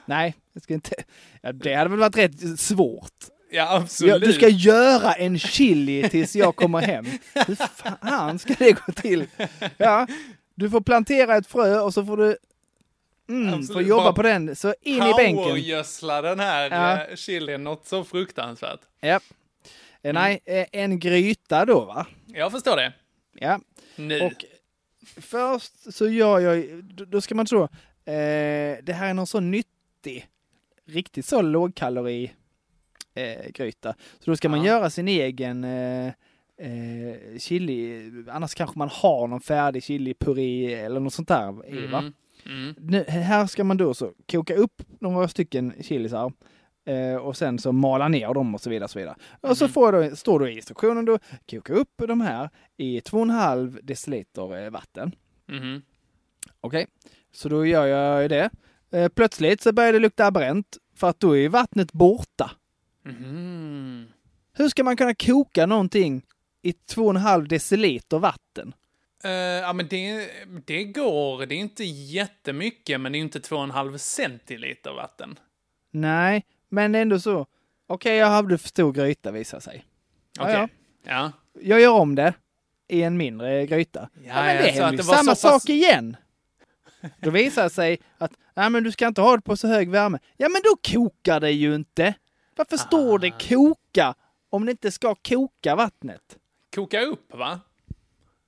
D: Nej, jag ska inte... Ja, det hade väl varit rätt svårt.
C: Ja, absolut.
D: Ja, du ska göra en chili tills jag kommer hem. Hur fan ska det gå till? Ja, du får plantera ett frö och så får du mm,
C: Absolut,
D: får jobba
C: bara
D: på den. Så in i bänken.
C: Powergödsla den här
D: Ja.
C: eh, chilin något så fruktansvärt.
D: Ja. Eh, Nej, eh, en gryta då va?
C: Jag förstår det.
D: Ja.
C: Nu.
D: Och först så gör jag, då- då ska man tro, eh, det här är någon så nyttig, riktigt så lågkalori eh, gryta. Så då ska man
C: Ja.
D: göra sin egen eh, eh, chili, annars kanske man har någon färdig chilipuré eller något sånt där i va?
C: Mm. Mm.
D: Nu, här ska man då så koka upp några stycken chilisar eh, och sen så mala ner dem och så vidare. Och så vidare. Och så får jag då, står det i instruktionen då, koka upp de här i 2,5 deciliter eh, vatten.
C: Mhm.
D: Okej, så då gör jag ju det. Eh, plötsligt så börjar det lukta bränt för att då är ju vattnet borta.
C: Mhm.
D: Hur ska man kunna koka någonting i 2,5 deciliter vatten?
C: Eh, ja, men det, det går. Det är inte jättemycket, men det är inte 2,5 centiliter vatten.
D: Nej, men ändå så. Okej, jag hade för stor gryta visar sig. Ja,
C: Okej.
D: ja.
C: Ja.
D: jag gör om det i en mindre gryta. Ja, men
C: ja,
D: det
C: så
D: är
C: att det var
D: samma
C: så pass-
D: sak igen. Då visar det sig att nej, men du ska inte ha det på så hög värme. Ja, men då kokar det ju inte. Varför står det
C: Ah.
D: koka om det inte ska koka vattnet?
C: Koka upp, va?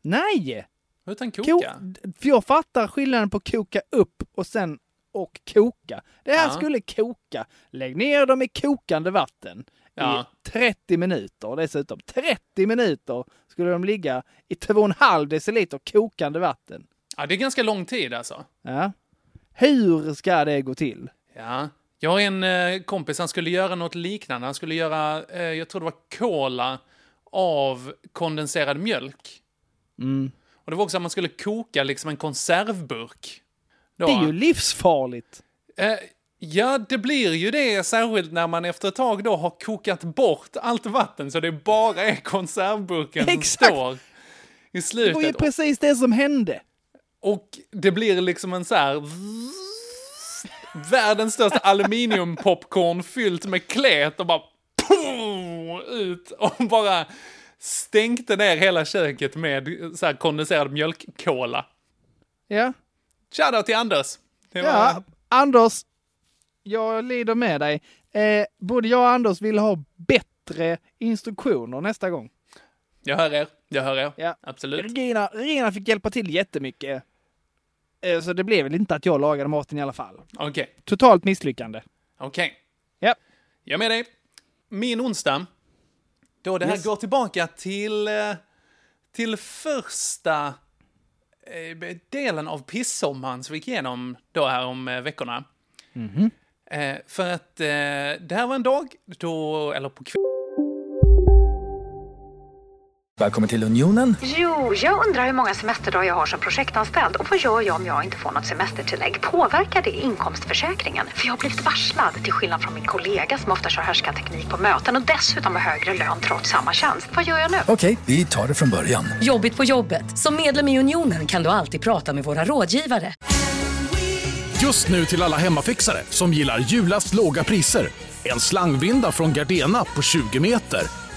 D: Nej!
C: Utan koka.
D: Koka. För jag fattar skillnaden på koka upp och sen och koka. Det här
C: Ja.
D: skulle koka. Lägg ner dem i kokande vatten
C: Ja.
D: i 30 minuter. Dessutom 30 minuter skulle de ligga i 2,5 deciliter kokande vatten.
C: Ja, det är ganska lång tid alltså.
D: Ja. Hur ska det gå till?
C: Ja. Jag har en eh, kompis, han skulle göra något liknande. Han skulle göra, eh, jag tror det var cola av kondenserad mjölk. Och det var också att man skulle koka liksom en konservburk. Då.
D: Det är ju livsfarligt.
C: Eh, ja, det blir ju det, särskilt när man efter ett tag då har kokat bort allt vatten så det bara är konservburken som
D: Exakt.
C: står i
D: Det var ju
C: slutet.
D: precis det som hände.
C: Och det blir liksom en så här... Världens största aluminiumpopcorn fyllt med klet och bara... Pum, ut och bara stänkte ner hela köket med så här kondenserad mjölkkola.
D: Ja.
C: Shoutout till Anders! Det var-
D: Ja, Anders, jag lider med dig. Eh, både jag och Anders vill ha bättre instruktioner nästa gång.
C: Jag hör er, jag hör er.
D: Ja.
C: Absolut.
D: Regina, Regina fick hjälpa till jättemycket. Eh, så det blev väl inte att jag lagade maten i alla fall.
C: Okej,
D: Totalt misslyckande.
C: okej.
D: Ja.
C: Jag är med dig. Min onsdag, då det här
D: Yes.
C: går tillbaka till, eh, till första eh, delen av pissommaren som vi gick igenom då här om eh, veckorna. Eh, För att eh, det här var en dag då, eller på kvällen,
G: Välkommen till Unionen.
H: Jo, jag undrar hur många semesterdagar jag har som projektanställd och vad gör jag om jag inte får något semestertillägg? Påverkar det inkomstförsäkringen? För jag har blivit varslad, till skillnad från min kollega som ofta kör härskarteknik på möten och dessutom har högre lön trots samma tjänst. Vad gör jag nu?
G: Okej, vi tar det från början.
I: Jobbigt på jobbet. Som medlem i Unionen kan du alltid prata med våra rådgivare.
A: Just nu till alla hemmafixare som gillar julast låga priser. En slangvinda från Gardena på 20 meter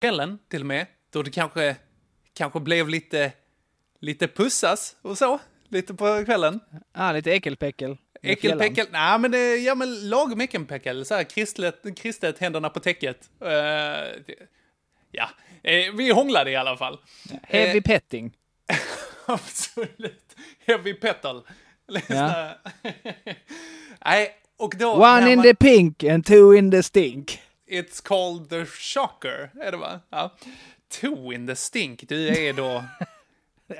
C: kvällen till och med, då det kanske, kanske blev lite, lite pussas och så, lite på kvällen.
D: Ah, lite äckelpäckel. Med fjällan.
C: Äckelpäckel, nej men det, ja men lagom äckelpäckel, så här kristet, kristet händerna på täcket. Eh, det- ja, Eh, vi hånglade i alla fall. eh,
D: Heavy petting.
C: Absolut. Heavy petal.
D: Ja.
C: nej, och då... när
D: One in
C: man-
D: the pink and two in the stink.
C: It's called the shocker, är det va? Ja. Two in the stink, du är då...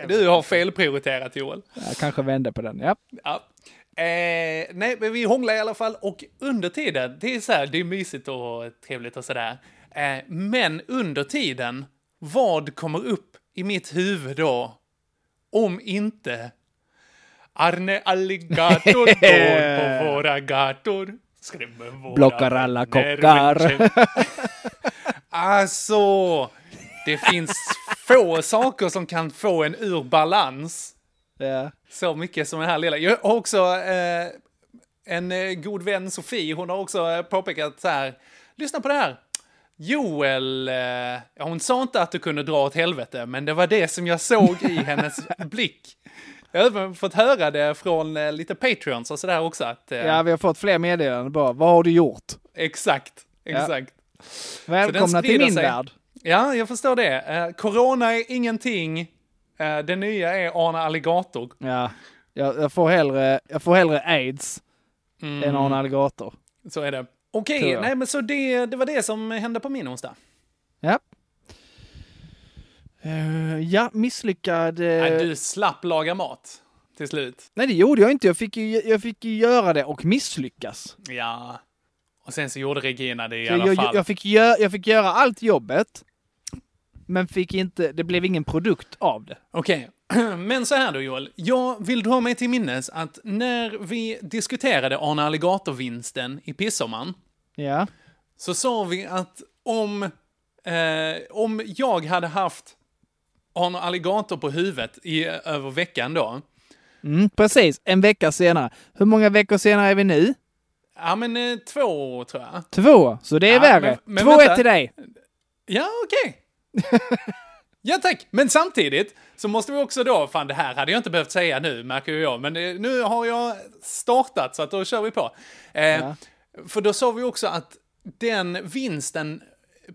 C: du har felprioriterat Joel.
D: Jag kanske vände på den, ja.
C: Ja. Eh, nej, men vi hånglar i alla fall och under tiden, det är så här, det är mysigt och trevligt och sådär. Eh, men under tiden, vad kommer upp i mitt huvud då? Om inte Arne Alligator går på våra gator. Skrämmer våra
D: Blockar alla
C: vänner
D: kockar.
C: med käpp. alltså, det finns få saker som kan få en ur balans
D: ja.
C: så mycket som den här lilla. Jag har också eh, en eh, god vän, Sofie, hon har också eh, påpekat så här. Lyssna på det här. Joel, eh, ja, hon sa inte att du kunde dra åt helvete, men det var det som jag såg i hennes blick. Jag har även fått höra det från eh, lite Patreons och sådär också. Att, eh,
D: Ja, vi har fått fler meddelanden bara. Vad har du gjort?
C: Exakt, exakt.
D: Välkomna till
C: sprider
D: min
C: sig.
D: värld.
C: Ja, jag förstår det. Eh, corona är ingenting. Eh, det nya är Arne Alligator.
D: Ja, jag, jag, får hellre, jag får hellre aids än
C: Mm.
D: Arne Alligator.
C: Så är det. Okej,
D: Tror jag.
C: nej men så det, det var det som hände på min onsdag.
D: Ja. Eh, ja, misslyckad... eh,
C: Nej, du slapp laga mat till slut.
D: Nej, det gjorde jag inte. Jag fick, ju, jag fick ju göra det och misslyckas.
C: Ja. Och sen så gjorde Regina det i alla
D: Jag, jag,
C: fall.
D: jag, fick gö, jag fick göra allt jobbet, men fick inte, det blev ingen produkt av det.
C: Okej, men så här då Joel. Jag vill dra mig till minnes att när vi diskuterade Arne Alligator-vinsten i Pissoman
D: Ja.
C: så sa vi att om, eh, om jag hade haft Arne Alligator på huvudet i, över veckan då.
D: Mm, precis, en vecka senare. Hur många veckor senare är vi nu?
C: Ja, men eh, två tror jag.
D: Två, så det är
C: Ja,
D: värre.
C: men- men
D: Två
C: vänta.
D: är till dig.
C: Ja, okej. ja, tack. Men samtidigt så måste vi också då, fan det här hade jag inte behövt säga nu, märker ju jag, men eh, nu har jag startat så att då kör vi på. Eh, För då sa vi också att den vinsten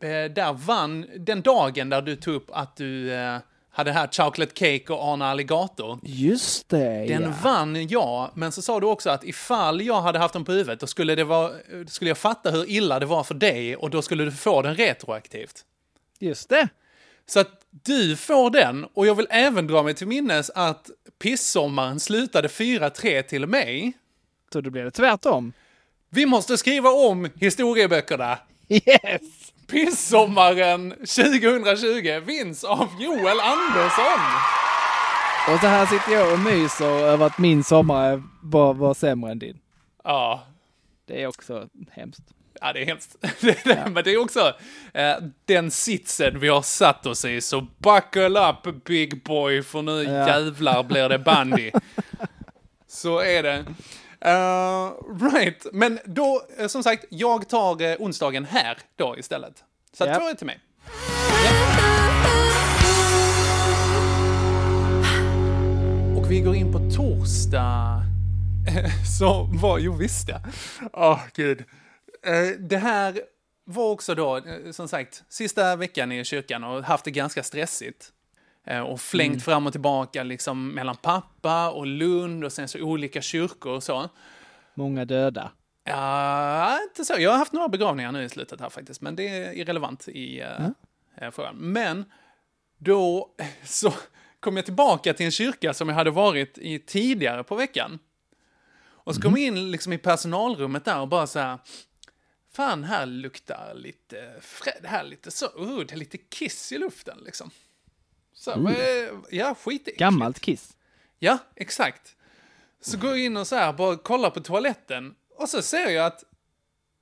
C: eh, där vann, den dagen där du tog upp att du eh, hade här chocolate cake och Arne Alligator,
D: Just det,
C: den
D: ja.
C: vann jag, men så sa du också att ifall jag hade haft den på huvudet, då skulle, det vara, eh, skulle jag fatta hur illa det var för dig och då skulle du få den retroaktivt.
D: Just det.
C: Så att du får den, och jag vill även dra mig till minnes att pissommaren slutade 4-3 till mig.
D: Så då blev det tvärtom.
C: Vi måste skriva om historieböckerna.
D: Yes!
C: Pissommaren 2020 vinns av Joel Andersson.
D: Och så här sitter jag och myser över att min sommar var, var sämre än din.
C: Ja,
D: Det är också hemskt.
C: ja det är hemskt. Men det är också eh, den sitsen vi har satt oss i, så buckle up big boy, för nu jävlar blir det bandy. Så är det. Eh, right, men då, eh, som sagt, jag tar eh, onsdagen här då istället. Så
D: Japp.
C: att två är till mig. Och vi går in på torsdag. Så var, jo visst ja. Åh gud. Eh, Det här var också då, eh, som sagt, sista veckan i kyrkan och haft det ganska stressigt. Eh, Och flängt fram och tillbaka liksom mellan pappa och Lund och sen så olika kyrkor och så.
D: Många döda.
C: Ja, inte så. Jag har haft några begravningar nu i slutet här faktiskt, men det är irrelevant i eh, eh, frågan. Men då så kom jag tillbaka till en kyrka som jag hade varit i tidigare på veckan. Och så kom jag in liksom i personalrummet där och bara så här, fan här luktar lite, frä- det här är lite så, oh, det är lite kiss i luften liksom. Så, mm. ja, skitäckligt.
D: Gammalt Kiss.
C: Ja, exakt. Så går jag in och så här, bara kollar på toaletten och så ser jag att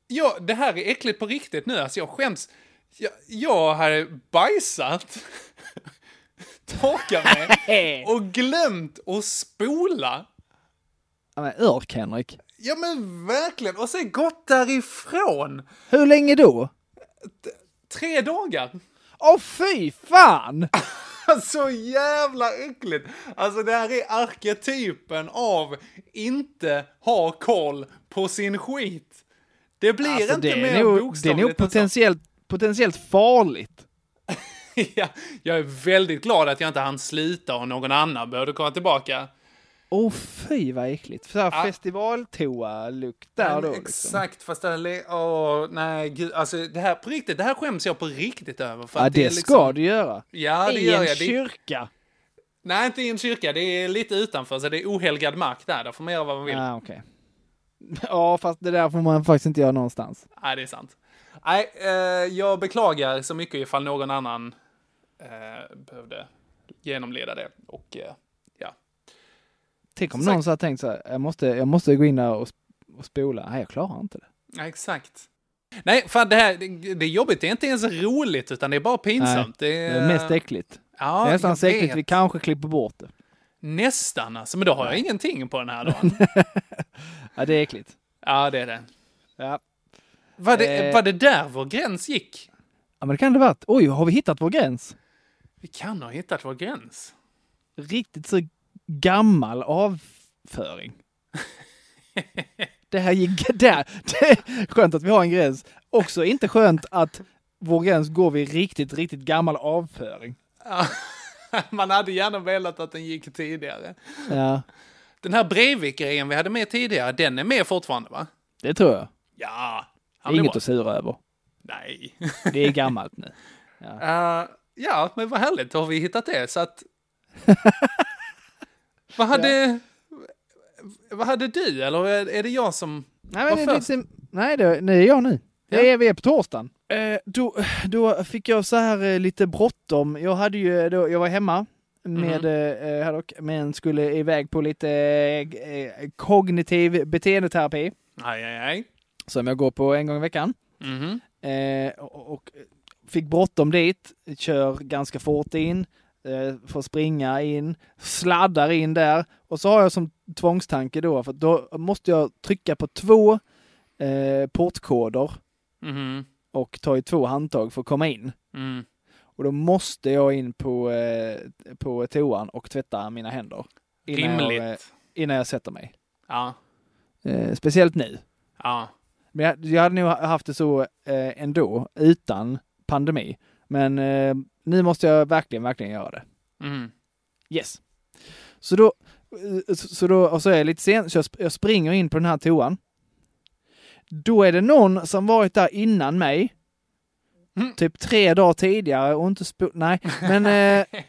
C: ja, det här är äckligt på riktigt nu. Alltså jag skäms. Jag, jag hade bajsat, torkat mig och glömt att spola.
D: Ja, men örk, Henrik.
C: Ja men verkligen. Och sen gått därifrån.
D: Hur länge då?
C: Tre dagar.
D: Åh fy fan!
C: Så jävla äckligt! Alltså det här är arketypen av inte ha koll på sin skit. Det blir
D: Alltså,
C: inte
D: det,
C: mer
D: är nog, det är nog
C: bokstavligt än så.
D: potentiellt, potentiellt farligt.
C: ja, Jag är väldigt glad att jag inte hann slita och någon annan började komma tillbaka.
D: Åh fy vad äckligt. Så här festivaltoa-lukt där
C: Men
D: då. Liksom.
C: Exakt, fast det är... Åh, nej, gud. Alltså det här på riktigt, det här skäms jag på riktigt över. För
D: Ja
C: att det
D: det
C: är liksom-
D: ska du göra.
C: Ja, det
D: I
C: gör
D: en
C: jag. Det är,
D: kyrka.
C: nej, inte i en kyrka. Det är lite utanför, så det är ohelgad mark där. Där får man göra vad man vill.
D: Ja Ah, okej. Ja fast det där får man faktiskt inte göra någonstans.
C: Nej, det är sant. Nej, eh, jag beklagar så mycket ifall någon annan eh, behövde genomleda det. Och eh, ja,
D: Tänk om
C: Exakt.
D: någon så här tänkt så här, jag måste, jag måste gå in där och, sp- och spola. Nej jag klarar inte det.
C: ja exakt. Nej, fan det här, det, det är jobbigt. Det är inte ens roligt, utan det är bara pinsamt.
D: Nej, det är mest äckligt.
C: Eh, Ja,
D: det är nästan
C: jag
D: säkert
C: vet.
D: vi kanske klipper bort det.
C: Nästan alltså, men då har jag ingenting på den här dagen.
D: Ja det är äckligt.
C: ja, det är det.
D: Ja.
C: Var det,
D: Eh.
C: var det där vår gräns gick?
D: Ja, men det kan det ha varit. Oj, har vi hittat vår gräns?
C: Vi kan ha hittat vår gräns.
D: Riktigt så gammal avföring. det här gick där. Det är skönt att vi har en gräns. Också inte skönt att vår gräns går vid riktigt, riktigt gammal avföring.
C: Man hade gärna velat att den gick tidigare.
D: Ja,
C: Den här Breivik-grejen vi hade med tidigare, den är med fortfarande va?
D: det tror jag.
C: Ja,
D: Det
C: han
D: är
C: blir
D: inget
C: bra.
D: att sura över.
C: Nej.
D: Det är gammalt nu.
C: Eh, ja, men vad härligt, då har vi hittat det. Så att... vad, hade... vad hade du, eller är- är det jag som...
D: Nej, men
C: Vad
D: det är
C: först?
D: lite, nej, det, nej, det är jag nu.
C: Ja.
D: Det är, vi är på torsdagen. Eh, då, då fick jag så här eh, lite bråttom. Jag, hade ju, eh, då, jag var hemma med eh, eh, Haddock, men skulle iväg på lite eh, eh, kognitiv beteendeterapi
C: Nej, nej, nej.
D: som jag går på en gång i veckan.
C: Mhm.
D: Eh, och, och fick bråttom dit, kör ganska fort in, eh, får springa in, sladdar in där. Och så har jag som tvångstanke då, för då måste jag trycka på två eh, portkoder
C: Mhm.
D: och ta i två handtag för att komma in.
C: Mm.
D: Och då måste jag in på, eh, på toan och tvätta mina händer. Jag, eh,
C: Rimligt.
D: innan jag sätter mig.
C: Ja,
D: Eh, speciellt nu.
C: ja.
D: Men jag, jag hade nog haft det så eh, ändå, utan pandemi. Men eh, nu måste jag verkligen, verkligen göra det.
C: Mm.
D: Yes. Så då, eh, så, så då och så är jag lite sen, så jag, sp- jag springer in på den här toan. Då är det någon som varit där innan mig,
C: Mm.
D: typ tre dagar tidigare och inte spo- Nej, men... Eh,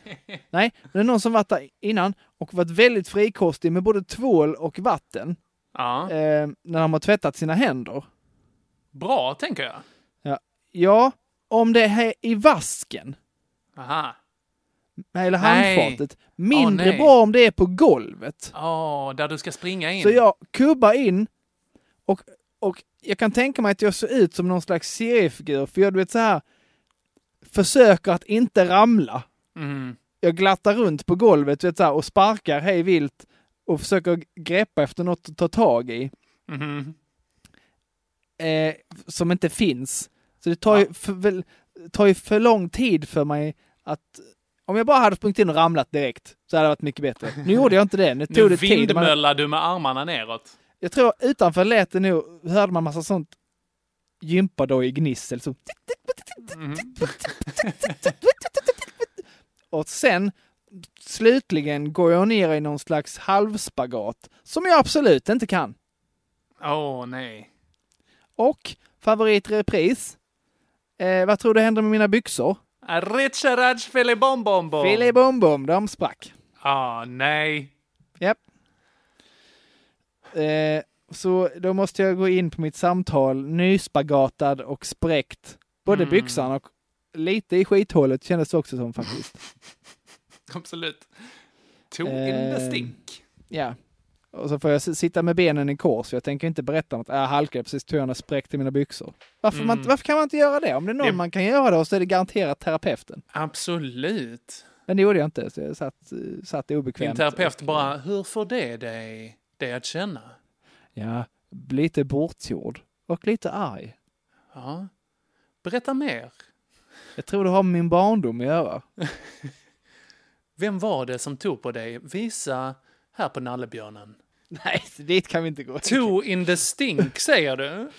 D: nej, men det är någon som varit där innan och varit väldigt frikostig med både tvål och vatten
C: Ja,
D: eh, när de har tvättat sina händer.
C: bra tänker jag.
D: Ja, om det är i vasken
C: Aha.
D: eller
C: Nej.
D: handfatet. Mindre
C: nej.
D: bra om det är på golvet.
C: Åh, där du ska springa in.
D: Så jag kubbar in och, och jag kan tänka mig att jag ser ut som någon slags seriefigur för jag du vet så här försöker att inte ramla.
C: Mm.
D: Jag glattar runt på golvet du vet, så här, och sparkar hej vilt och försöker greppa efter något att ta tag i
C: Mhm.
D: eh, som inte finns. Så det tar, ju för, väl, tar ju för lång tid för mig att om jag bara hade sprungit in och ramlat direkt så hade det varit mycket bättre. Nu gjorde jag inte det. Nu
C: Nu
D: tog det tid. Man,
C: vindmöllar du med armarna neråt.
D: jag tror utanför lät det nog, hörde man massa sånt gympadoj gnissel. Så. Och sen slutligen går jag ner i någon slags halvspagat som jag absolut inte kan.
C: Åh, nej.
D: Och favoritrepris. Eh, vad tror du händer med mina byxor?
C: Richaraj Filibombombom.
D: Fille bom bom, de sprack.
C: Ah, nej.
D: Japp. Eh, så då måste jag gå in på mitt samtal nyspagatad och spräckt. Både
C: Mm.
D: byxan och lite i skithålet kändes det också som faktiskt.
C: Absolut. Tog in
D: Eh.
C: the stink.
D: Ja. Och så får jag s- sitta med benen i kors, för jag tänker inte berätta om att jag halkade precis tog jag och spräckte mina byxor. Varför, man, inte- varför kan man inte göra det? Om det är någon
C: Mm. Det-
D: man kan göra det så är det garanterat terapeuten.
C: Absolut.
D: Men det gjorde jag inte, så jag satt, eh, satt obekvämt.
C: Din terapeut bara, hur får det dig, dig att känna?
D: Ja, lite bortgjord och lite arg.
C: Ja. Berätta mer.
D: Jag tror det har med min barndom att göra.
C: Vem var det som tog på dig? Visa här på nallebjörnen.
D: Nej, så dit kan vi inte gå.
C: Tog in the stink, säger du?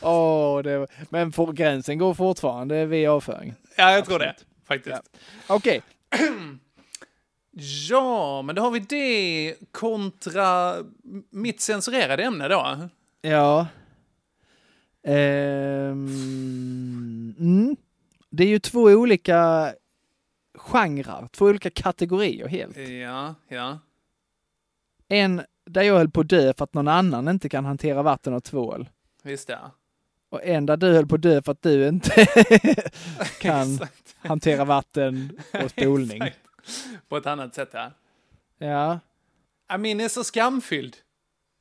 D: Åh, det var... Men för, gränsen går fortfarande vid avföring.
C: Ja, jag tror det. Faktiskt.
D: Okej,
C: Ja, men då har vi det kontra mitt censurerade ämne då.
D: ja. Ehm, mm. Det är ju två olika genrer, två olika kategorier helt.
C: Ja, ja.
D: En där jag höll på att dö för att någon annan inte kan hantera vatten och tvål.
C: Visst ja.
D: Och en där du höll på att dö för att du inte kan
C: Exakt.
D: hantera vatten och spolning.
C: Exakt. På ett annat sätt, ja.
D: Ja.
C: Ja, Min är så skamfylld.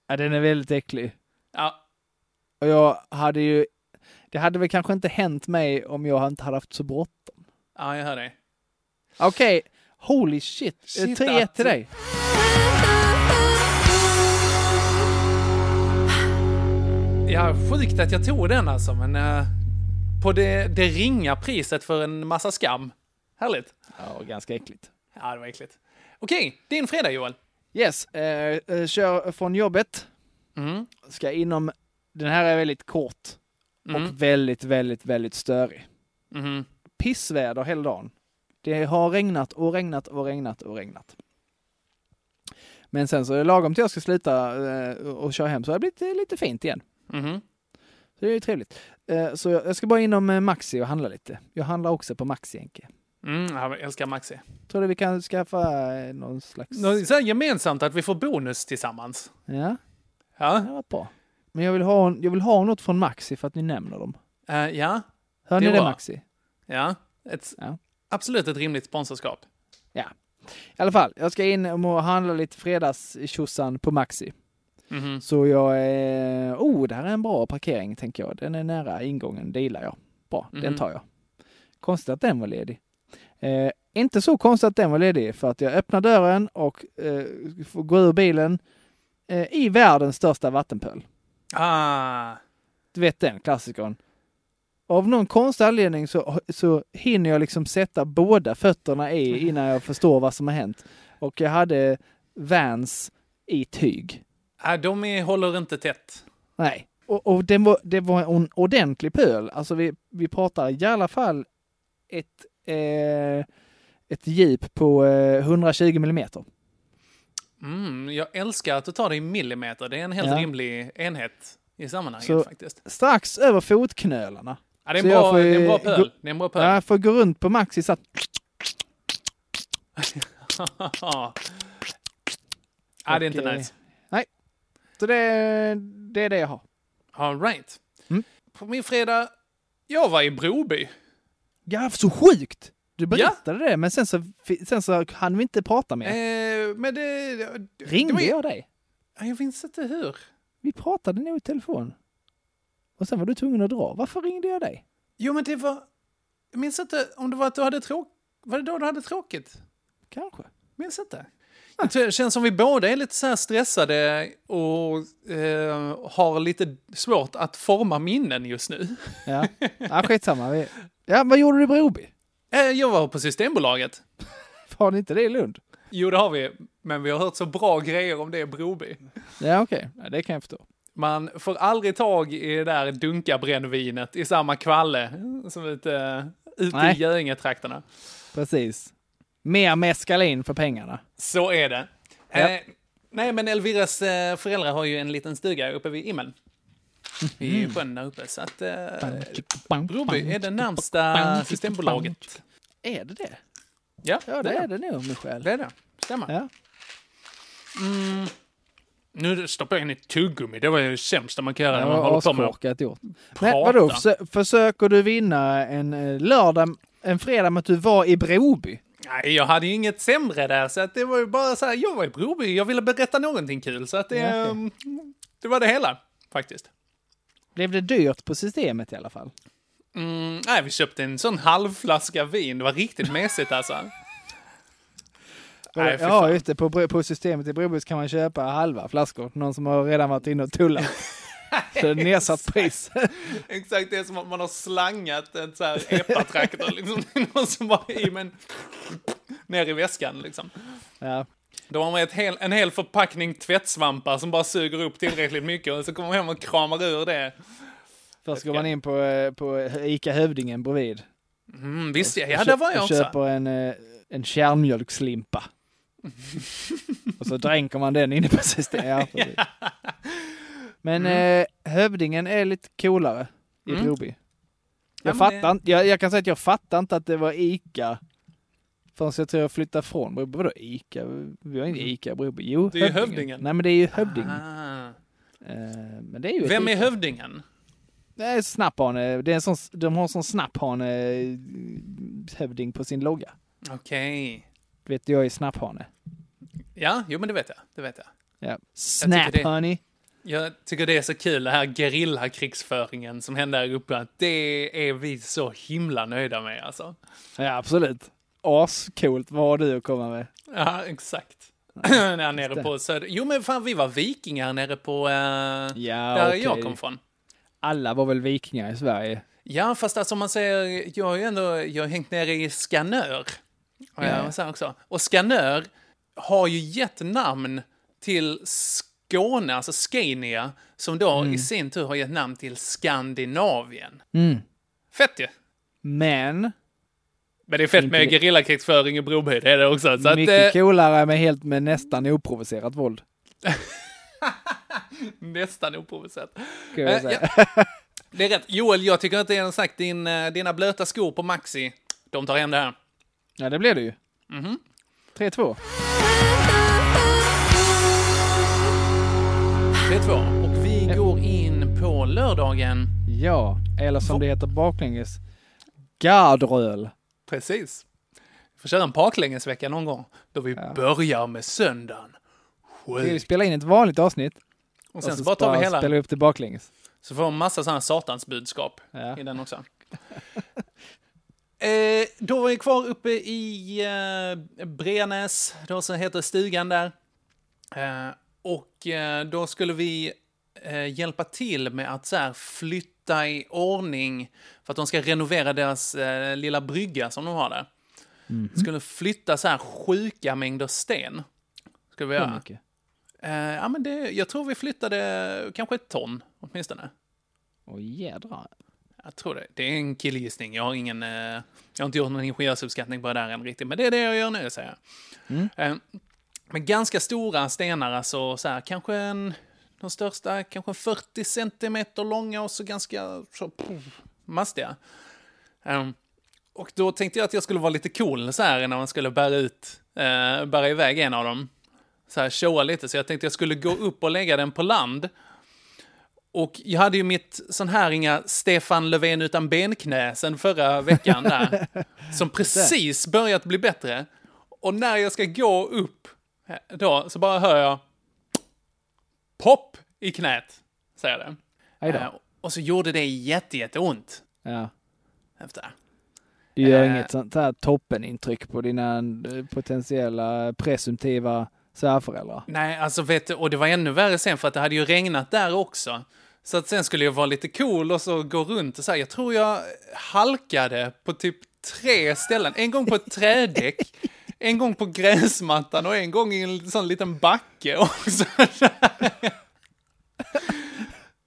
D: ja, den är väldigt äcklig.
C: Ja,
D: Och jag hade ju... Det hade väl kanske inte hänt mig om jag inte hade haft så bråttom.
C: ja jag hör dig.
D: Okej, holy shit.
C: Shit,
D: shit 3-1 till
C: att-
D: dig.
E: ooh,
C: Ja, sjukt att jag tog den alltså, men eh, på det, det ringa priset för en massa skam. Härligt.
D: Ja, och ganska äckligt.
C: Ja, det var äckligt. Okej, din fredag Joel.
D: Yes, eh, eh, kör från jobbet.
C: Mm.
D: Ska inom, den här är väldigt kort
C: Mm.
D: och väldigt, väldigt, väldigt störig.
C: Mhm.
D: Pissväder hela dagen. Det har regnat och regnat och regnat och regnat. Men sen så är det lagom till jag ska sluta eh, och köra hem så har det blivit eh, lite fint igen.
C: Mhm.
D: Så det är ju trevligt. Eh, Så jag jag ska bara inom eh, Maxi och handla lite. Jag handlar också på Maxi, Henke.
C: Mm, jag älskar Maxi.
D: Tror du vi kan skaffa eh, någon slags...
C: Nå- Så här gemensamt att vi får bonus tillsammans.
D: Ja, det
C: Ja,
D: var bra. Men jag vill, ha, jag vill ha något från Maxi för att ni nämner dem.
C: Eh, ja,
D: Hör
C: Det är
D: ni det,
C: bra.
D: Maxi?
C: ja. Ett,
D: Ja.
C: Absolut ett rimligt sponsorskap.
D: I alla fall, jag ska in och handla lite fredagstjosan på Maxi.
C: Mhm.
D: Så jag är... Oh, det här är en bra parkering, tänker jag. Den är nära ingången, dealar jag. Bra,
C: Mhm.
D: den tar jag. Konstigt att den var ledig. Eh, inte så konstigt att den var ledig, för att jag öppnar dörren och eh, får gå ur bilen eh, i världens största vattenpöl.
C: Ah,
D: Du vet den klassikern. Av någon konstig anledning så, så hinner jag liksom sätta båda fötterna i innan jag förstår vad som har hänt. Och jag hade Vans i tyg.
C: ah, de är, håller inte tätt.
D: Nej, och, och den var, det var en ordentlig pöl. Alltså vi, vi pratar i alla fall ett, eh, ett djup på eh, 120 millimeter.
C: Mm, jag älskar att du tar det i millimeter. Det är en helt
D: Ja.
C: rimlig enhet i sammanhanget
D: Så-
C: faktiskt.
D: Strax över fotknölarna.
C: Ja, det, är
D: Så
C: en
D: jag
C: bra,
D: får ju
C: det är en bra
D: gå-
C: pöl. Det är en bra pöl.
D: Jag får gå runt på Maxi så att
C: ja, det är inte
D: Och, eh,
C: nice.
D: så det, det är det jag har.
C: All right.
D: Mm.
C: På min fredag, jag var i Broby.
D: Ja, så sjukt! Du berättade det, men sen så, fi- sen så hann vi inte prata mer.
C: Eh, men det... det- det
D: Ringde
C: var ju-
D: jag dig?
C: Ja, Jag minns inte hur.
D: Vi pratade nog i telefon. Och sen var du tvungen att dra. Varför ringde jag dig?
C: Jo, men det var... Jag minns inte om det var att du hade tråkigt. Var det då du hade tråkigt?
D: Kanske.
C: Minns inte. Jag tror, det känns som vi båda är lite så här stressade och eh, har lite svårt att forma minnen just nu.
D: Ja, ja skitsamma. Vi... Ja, vad gjorde du i Broby?
C: Eh, jag var på Systembolaget.
D: Har ni inte det i Lund?
C: Jo, det har vi, men vi har hört så bra grejer om det i Broby.
D: Ja, okej. Ja, det kan jag förstå.
C: Man får aldrig tag i det där dunkabrännvinet i samma kvalle som ute, ute i
D: Nej.
C: Göingetrakterna.
D: Precis. Mer meskalin för pengarna.
C: Så är det.
D: Ja.
C: Eh, nej, men Elviras eh, föräldrar har ju en liten stuga uppe vid Immen. I
D: Mm.
C: sjön där uppe. Så att eh, Broby är det närmsta Systembolaget.
D: Är det det?
C: Ja,
D: Ja, det är det nog, Michel.
C: Det är det. Stämmer.
D: Ja.
C: Nu stoppar jag in ett tuggummi. Det var ju det sämsta man kan göra
D: Det
C: när man håller
D: var
C: på med att
D: askorkat gjort. Men
C: prata.
D: vadå, försö- försöker du vinna en eh, lördag, en fredag med att du var i Broby?
C: Nej, jag hade ju inget sämre där, så att det var ju bara så här, jag var i Broby, jag ville berätta någonting kul, så att det,
D: Ja, okej.
C: ehm, det var det hela, faktiskt.
D: Blev det dyrt på systemet i alla fall?
C: Mm, nej, vi köpte en sån halvflaska vin, det var riktigt mesigt alltså. Nej, fy
D: ja,
C: fan.
D: just det. På, Bro- på systemet i Broby så kan man köpa halva flaskor. Någon som har redan varit inne och tullat. Så det är nedsatt pris.
C: Exakt, det är som att man har slangat en så här epatraktor, liksom, någon som var i, men ner i väskan liksom.
D: Ja.
C: Då har man ett hel, en hel förpackning tvättsvampar som bara suger upp tillräckligt mycket och så kommer man hem och kramar ur det.
D: Först går man in på, eh, på Ica Hövdingen bredvid.
C: Mm, visst, ja, ja, där var jag
D: och
C: också.
D: köper en, eh, en kärnmjölkslimpa. och så dränker man den inne på systemet. Ja, precis. Men eh, Hövdingen är lite coolare i
C: Mm.
D: Broby.
C: Ja,
D: Jag,
C: men
D: fattar,
C: det-
D: inte- jag, jag kan säga att jag fattar inte att det var Ica förrän jag tror jag flyttade från Broby. Vadå Ica? Vi har inte Ica i Broby. Jo,
C: Mm. Det är ju Hövdingen.
D: Nej, men det är ju Hövding.
C: Ah.
D: Eh, men det är ju ett
C: Vem är
D: Ica.
C: hövdingen?
D: Det är snapphane. Det är en sån, de har en sån snapphane eh, hövding på sin logga.
C: Okej.
D: Du vet, jag är snapphane.
C: Ja, jo men det vet jag. Det vet jag.
D: Ja.
C: tycker det-
D: Snap honey.
C: Jag tycker det är så kul, det här gerillakrigsföringen som hände här uppe. att Det är vi så himla nöjda med alltså.
D: Ja, absolut. Ascoolt. Vad har du att komma med?
C: Ja, exakt. Där nere
D: det.
C: på söder. Jo men fan, vi var vikingar nere på... eh,
D: Ja,
C: där
D: okej.
C: jag kom från.
D: alla var väl vikingar i Sverige?
C: Ja, fast alltså om man säger, jag har ju ändå jag har hängt ner i Skanör. Har jag så här också. Och Skanör har ju gett namn till Skåne, alltså Scania, som då
D: Mm.
C: i sin tur har gett namn till Skandinavien. Fett ju!
D: Men,
C: Men det är fett med
D: Inte-
C: gerillakrigföring i Broby, det är det också. Så att,
D: mycket
C: eh,
D: coolare med helt med nästan oprovocerat våld.
C: nästan oprovocerat.
D: ska jag
C: Eh,
D: säga.
C: Det är rätt. Joel, jag tycker inte jag har sagt din, eh, dina blöta skor på Maxi, de tar hem det här.
D: Ja, det blev det ju.
C: Mhm.
D: 3-2.
C: 3-2. Och
D: Eh.
C: vi går in på lördagen.
D: Ja, eller som det heter baklänges, gardröl.
C: Precis. Vi får köra en baklängesvecka någon gång då vi börjar med söndagen. Sjukt.
D: Vi spelar in ett vanligt avsnitt
C: Och
D: och
C: sen
D: så
C: så bara tar vi hela.
D: spelar vi upp det baklänges.
C: Så får man massa sådana satans budskap
D: Ja.
C: i den också. eh, då var vi kvar uppe i eh, Brenäs, då så heter stugan där. Eh, och eh, då skulle vi eh, hjälpa till med att så här, flytta i ordning för att de ska renovera deras eh, lilla brygga som de har där.
D: Mhm.
C: Skulle flytta så här sjuka mängder sten. Skulle vi
D: Hur
C: göra.
D: mycket?
C: Eh, ja, men det, jag tror vi flyttade kanske ett ton åtminstone.
D: Åh jädrar.
C: Jag tror det. Det är en killgissning. Jag har, ingen, eh, jag har inte gjort någon ingenjörsuppskattning på det där än riktigt, men det är det jag gör nu, säger jag. Eh, men ganska stora stenar, alltså så här, kanske en, de största, kanske 40 centimeter långa och så ganska så, pff, mastiga. Eh, och då tänkte jag att jag skulle vara lite cool så här när man skulle bära ut, eh, bära iväg en av dem. Så här showa lite, så jag tänkte jag skulle gå upp och lägga den på land. Och jag hade ju mitt sån här inga Stefan Löfven utan benknä sen förra veckan där. som precis börjat bli bättre. Och när jag ska gå upp eh, då så bara hör jag pop i knät, säger det.
D: Aj då.
C: Eh, Och så gjorde det jätte, jätteont
D: Ja.
C: efter.
D: Du gör
C: Eh.
D: inget sånt här toppenintryck på dina eh, potentiella presumtiva svärföräldrar.
C: Nej, alltså vet du, och det var ännu värre sen för att det hade ju regnat där också. Så att sen skulle jag vara lite cool och så gå runt och så här. Jag tror jag halkade på typ tre ställen. En gång på ett trädäck, en gång på gräsmattan och en gång i en sån liten backe. Och så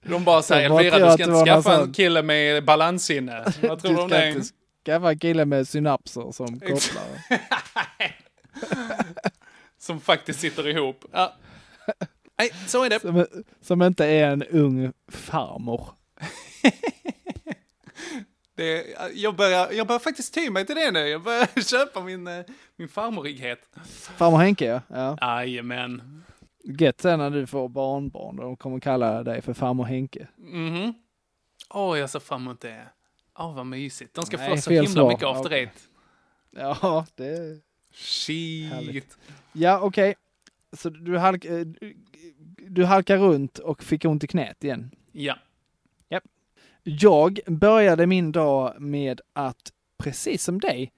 C: de bara så här,
D: Jag bara
C: Elvira,
D: tror
C: du
D: att
C: ska
D: det var
C: inte
D: någon
C: skaffa en
D: sån-
C: kille med balanssinne. Vad tror du om det?
D: inte skaffa en kille med synapser som
C: Ex-
D: kopplar.
C: Som faktiskt sitter ihop. Ja. Nej, så är det.
D: Som, som inte är en ung farmor.
C: Det, jag, börjar, jag börjar faktiskt ty mig till det nu. Jag börjar köpa min, eh, min farmorighet.
D: Farmor Henke ja. ja.
C: Jajamän.
D: Gött sen när du får barnbarn och de kommer kalla dig för farmor Henke.
C: Mhm. Åh, jag ser fram emot det. Åh, vad mysigt. De ska få
D: Nej,
C: så
D: fel
C: himla
D: svar.
C: mycket after
D: Okej.
C: eight.
D: Ja, det...
C: Shit.
D: Härligt. Ja, okej. Så du, halk, eh, du- du halkar runt och fick ont i knät igen.
C: Ja.
D: Jag började min dag med att, precis som dig,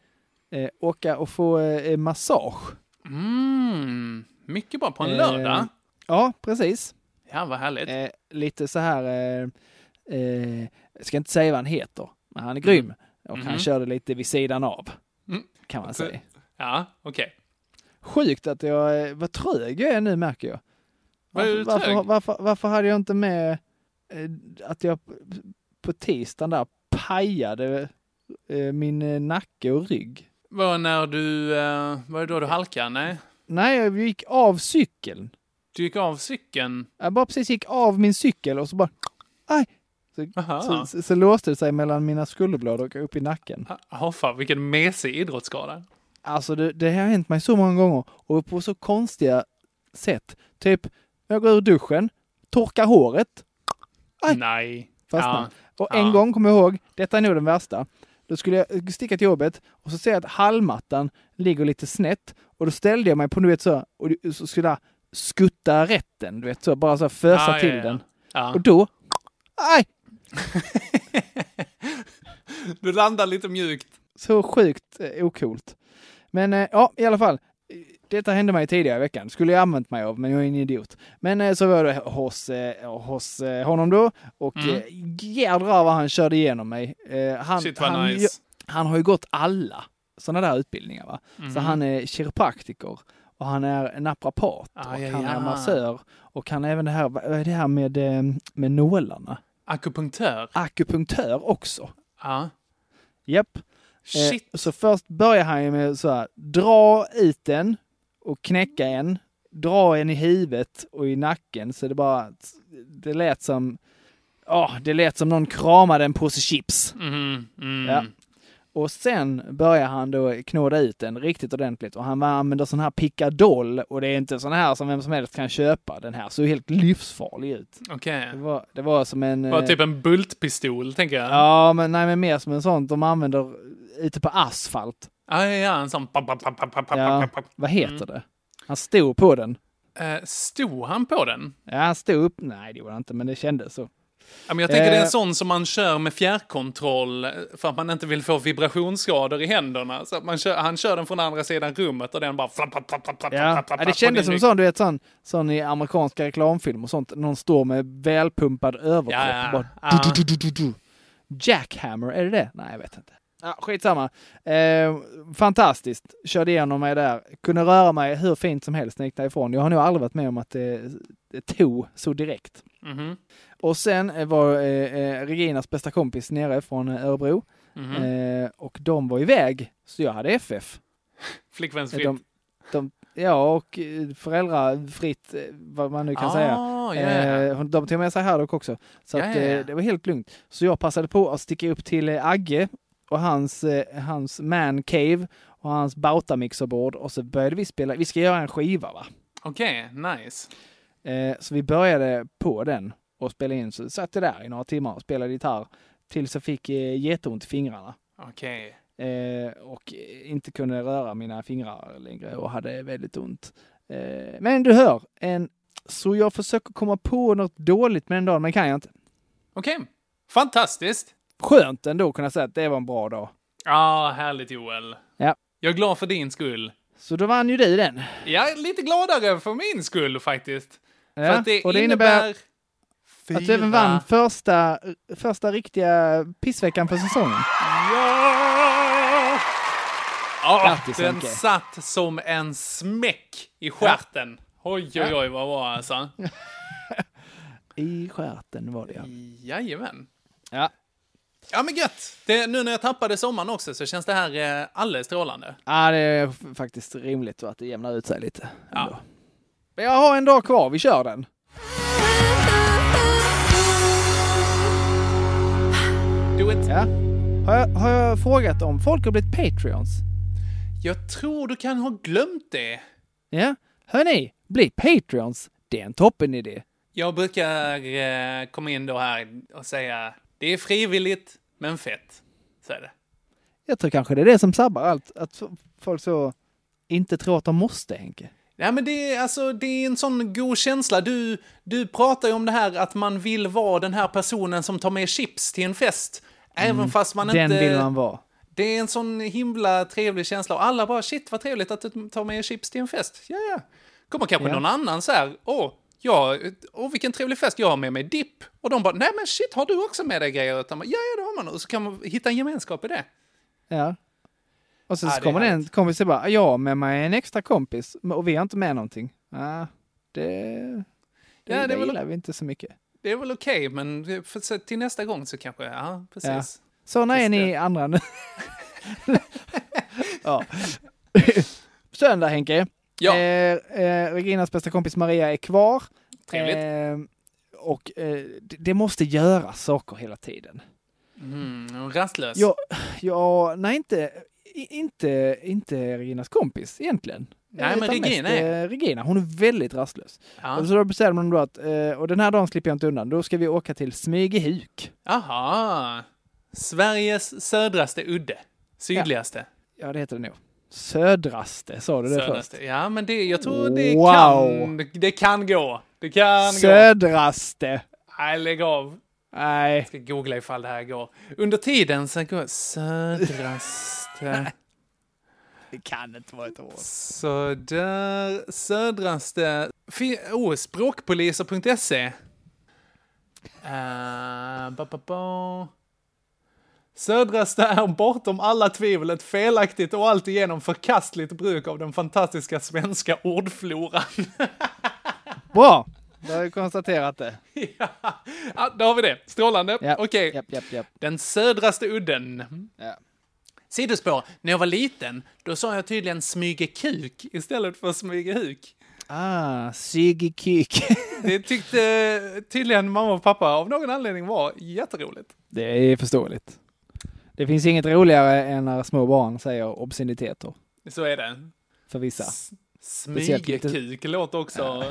D: eh, åka och få eh, massage.
C: Mm. Mycket bra på en
D: Eh,
C: lördag.
D: Ja, precis.
C: Ja, vad härligt.
D: Eh, lite så här, eh, eh, jag ska inte säga vad han heter, men han är grym. Och han
C: Mhm.
D: körde lite vid sidan av,
C: Mm.
D: kan man säga.
C: Ja, okej.
D: Sjukt att jag, eh, vad trög jag är nu märker jag.
C: Vad är
D: Varför,
C: du
D: varför,
C: trög?
D: varför, varför hade jag inte med eh, att jag p- på tisdagen där pajade eh, min eh, nacke och rygg?
C: Var när du... eh, var det då du halkade? Nej.
D: Nej, jag gick av cykeln.
C: Du gick av cykeln.
D: Jag bara precis gick av min cykel och så bara, aj! Så,
C: Aha.
D: så, så, så låste det sig mellan mina skulderblad och upp i nacken.
C: Jaha, Ah, fan vilken mesig idrottsskada.
D: Alltså det, det har hänt mig så många gånger och på så konstiga sätt. Typ, jag går ur duschen, torkar håret, Aj.
C: Nej.
D: fastnar.
C: Ja.
D: Och en
C: Ja.
D: gång, kommer jag ihåg, detta är nog den värsta. Då skulle jag sticka till jobbet och så ser jag att hallmattan ligger lite snett och då ställde jag mig på, du vet så, och du- så skulle jag skutta rätten, du vet så, bara så här fösa
C: Ja,
D: till
C: Ah, ja, ja.
D: den.
C: Ja.
D: Och då, aj!
C: Du landar lite mjukt.
D: Så sjukt eh, ocoolt. Men eh, ja, i alla fall. Eh, Detta hände mig tidigare i veckan, skulle jag använt mig av, men jag är en idiot. Men eh, så var jag då hos, eh, hos eh, honom då, och
C: Mm.
D: eh, jädrar vad han körde igenom mig. Eh, han,
C: Shit vad
D: han,
C: nice.
D: han har ju gått alla sådana där utbildningar. Va?
C: Mhm.
D: Så han är kiropraktiker och han är naprapat
C: Ah,
D: och
C: ja,
D: han
C: ja.
D: är massör och han är även det här, vad är det här med, eh, med nålarna?
C: Akupunktör?
D: Akupunktör också. Eh,
C: Ja.
D: Japp. Eh,
C: Shit.
D: Så först börjar han ju med så här, dra ut den och knäcka en, dra en i huvudet och i nacken så det bara, det lät som, ja, det lät som någon kramade en påse chips.
C: Mm, mm.
D: Ja. Och sen börjar han då knåda ut den riktigt ordentligt och han använder sån här pickadoll och det är inte sån här som vem som helst kan köpa. Den här såg helt livsfarlig ut.
C: Okej.
D: Det var, det var som en...
C: Var
D: eh,
C: typ en bultpistol, tänker jag.
D: Ja, men nej, men mer som en sån de använder ute på asfalt.
C: Ah, ja, ja, en sån... Pap, pap, pap, pap, pap,
D: Ja,
C: pap, pap. Mm.
D: vad heter det? Han stod på den.
C: Eh, stod han på den?
D: Ja, han stod upp. Nej, det gjorde han inte, men det kändes så.
C: Ja, men jag tänker det är en
D: Eh.
C: sån som man kör med fjärrkontroll eh, för att man inte vill få vibrationsskador i händerna. Så att man kör, han kör den från andra sidan rummet och den bara... Flapp, flapp, flapp, flapp,
D: Ja,
C: flapp, flapp,
D: ja det
C: flapp,
D: kändes
C: och
D: som
C: din-
D: sån, du vet, sån, sån i amerikanska reklamfilmer och sånt. Någon står med välpumpad överkropp
C: Ja, ja.
D: och bara... Du, du, du, du, du. Jackhammer, är det det? Nej, jag vet inte. Ja, skitsamma. Eh, fantastiskt. Körde igenom mig där. Kunde röra mig hur fint som helst när jag gick därifrån. Jag har nog aldrig varit med om att det, det tog så direkt.
C: Mhm,
D: Och sen eh, var eh, eh, Reginas bästa kompis nere från eh, Örebro.
C: mhm.
D: Eh, och de var iväg, så jag hade FF.
C: Flickvänsfritt.
D: De, de, ja, och eh, föräldrafritt, eh, vad man nu kan
C: ah,
D: säga.
C: Ja, ja.
D: Eh, hon- De tog med sig Haddock också, så
C: Ja,
D: att,
C: ja, ja.
D: eh, det var helt lugnt. Så jag passade på att sticka upp till eh, Agge och hans, eh, hans man cave och hans bautamixerbord och så började vi spela, vi ska göra en skiva va?
C: Okej, nice.
D: Eh, Så vi började på den och spela in, så satt jag där i några timmar och spelade gitarr tills jag fick eh, jätteont i fingrarna.
C: Okej.
D: Eh, och inte kunde röra mina fingrar längre och hade väldigt ont. Eh, men du hör, en, så jag försöker komma på något dåligt med den dagen, men kan jag inte.
C: Okej. Fantastiskt.
D: Skönt ändå att kunna säga att det var en bra dag.
C: Ja, härligt Joel.
D: Ja.
C: Jag är glad för din skull.
D: Så då vann ju du den.
C: Jag är lite gladare för min skull faktiskt. för
D: Ja,
C: att det,
D: och det
C: innebär...
D: innebär att du även vann första, första riktiga pissveckan för säsongen.
C: Ja! Ja,
D: Grattis,
C: den
D: Henke.
C: satt som en smäck i stjärten. Oj, oj, oj, vad bra alltså.
D: I stjärten var det ja.
C: Jajamän.
D: ja.
C: Ja, men gött. Det, nu när jag tappade sommaren också så känns det här eh, alldeles strålande.
D: Ja, det är f- faktiskt rimligt att det jämnar ut sig lite.
C: Ja.
D: ändå. Men jag har en dag kvar, vi kör den.
C: Do it.
D: Ja. Har, jag, har jag frågat om folk har blivit Patreons?
C: Jag tror du kan ha glömt det.
D: Ja, hörni, bli Patreons. Det är en toppen idé.
C: Jag brukar eh, komma in då här och säga det är frivilligt, men fett. Så är det.
D: Jag tror kanske det är det som sabbar allt, att f- folk så inte tror att de måste, Henke.
C: Nej, men det är, alltså, det är en sån god känsla. Du, du pratar ju om det här att man vill vara den här personen som tar med chips till en fest. Även fast man
D: Mm. Den
C: inte...
D: vill man vara.
C: Det är en sån himla trevlig känsla och alla bara shit vad trevligt att du tar med chips till en fest. Ja, ja. Kommer kanske
D: Ja.
C: någon annan så här, åh, ja, åh, vilken trevlig fest, jag har med mig dipp. Och de bara, nej men shit, har du också med dig grejer? Utan, ja, ja, det har man. Och så kan man hitta en gemenskap i det.
D: Ja. Och så,
C: Ja,
D: så
C: det är
D: kommer det en
C: härligt.
D: kompis och bara, jag har med mig en extra kompis men- och vi har inte med någonting. Ja, det, det,
C: Ja, det är
D: det
C: väl-
D: gillar vi inte så mycket.
C: Det är väl okej, men för, så, till nästa gång så kanske, ja, precis.
D: Sådana är
C: Just
D: ni
C: det.
D: andra nu. ja. Söndag Henke.
C: Ja.
D: Eh, eh, Reginas bästa kompis Maria är kvar.
C: Trevligt.
D: Eh, och eh, det, det måste göras saker hela tiden.
C: Mm, rastlös.
D: Ja, ja nej inte, i- inte, inte Reginas kompis egentligen.
C: Nej, men
D: Utan
C: Regina
D: mest,
C: är-
D: eh, Regina, hon är väldigt rastlös.
C: Ja.
D: Och så då bestämde man då att, eh, och den här dagen slipper jag inte undan, då ska vi åka till Smygehuk.
C: Aha. Sveriges södraste udde. Sydligaste.
D: Ja, det heter det nog. Södraste, sa du det först?
C: Södraste. Ja, men det, jag tror det
D: Wow.
C: kan, det kan gå. Det kan gå.
D: Södraste.
C: Nej, lägg av.
D: Nej.
C: Jag ska googla ifall det här går. Under tiden så går södraste.
D: Det kan inte vara ett år.
C: Så där, södraste... Fi- Oh, språkpoliser.se. E. Eh, ba, ba, ba. Södraste är bortom alla tvivel ett felaktigt och alltigenom förkastligt bruk av den fantastiska svenska ordfloran.
D: Bra! Då har vi konstaterat det.
C: ja, ah, då har vi det. Strålande.
D: Japp,
C: Okej.
D: japp, japp, japp.
C: Den södraste udden.
D: Ja.
C: Sidospår. När jag var liten, då sa jag tydligen smyge kuk istället för smyge huk.
D: Ah, Sigge Kik.
C: Det tyckte tydligen mamma och pappa av någon anledning var jätteroligt.
D: Det är förståeligt. Det finns inget roligare än när små barn säger obsceniteter.
C: Så är det.
D: För vissa. Speciellt lite-
C: Smygekuk låter också...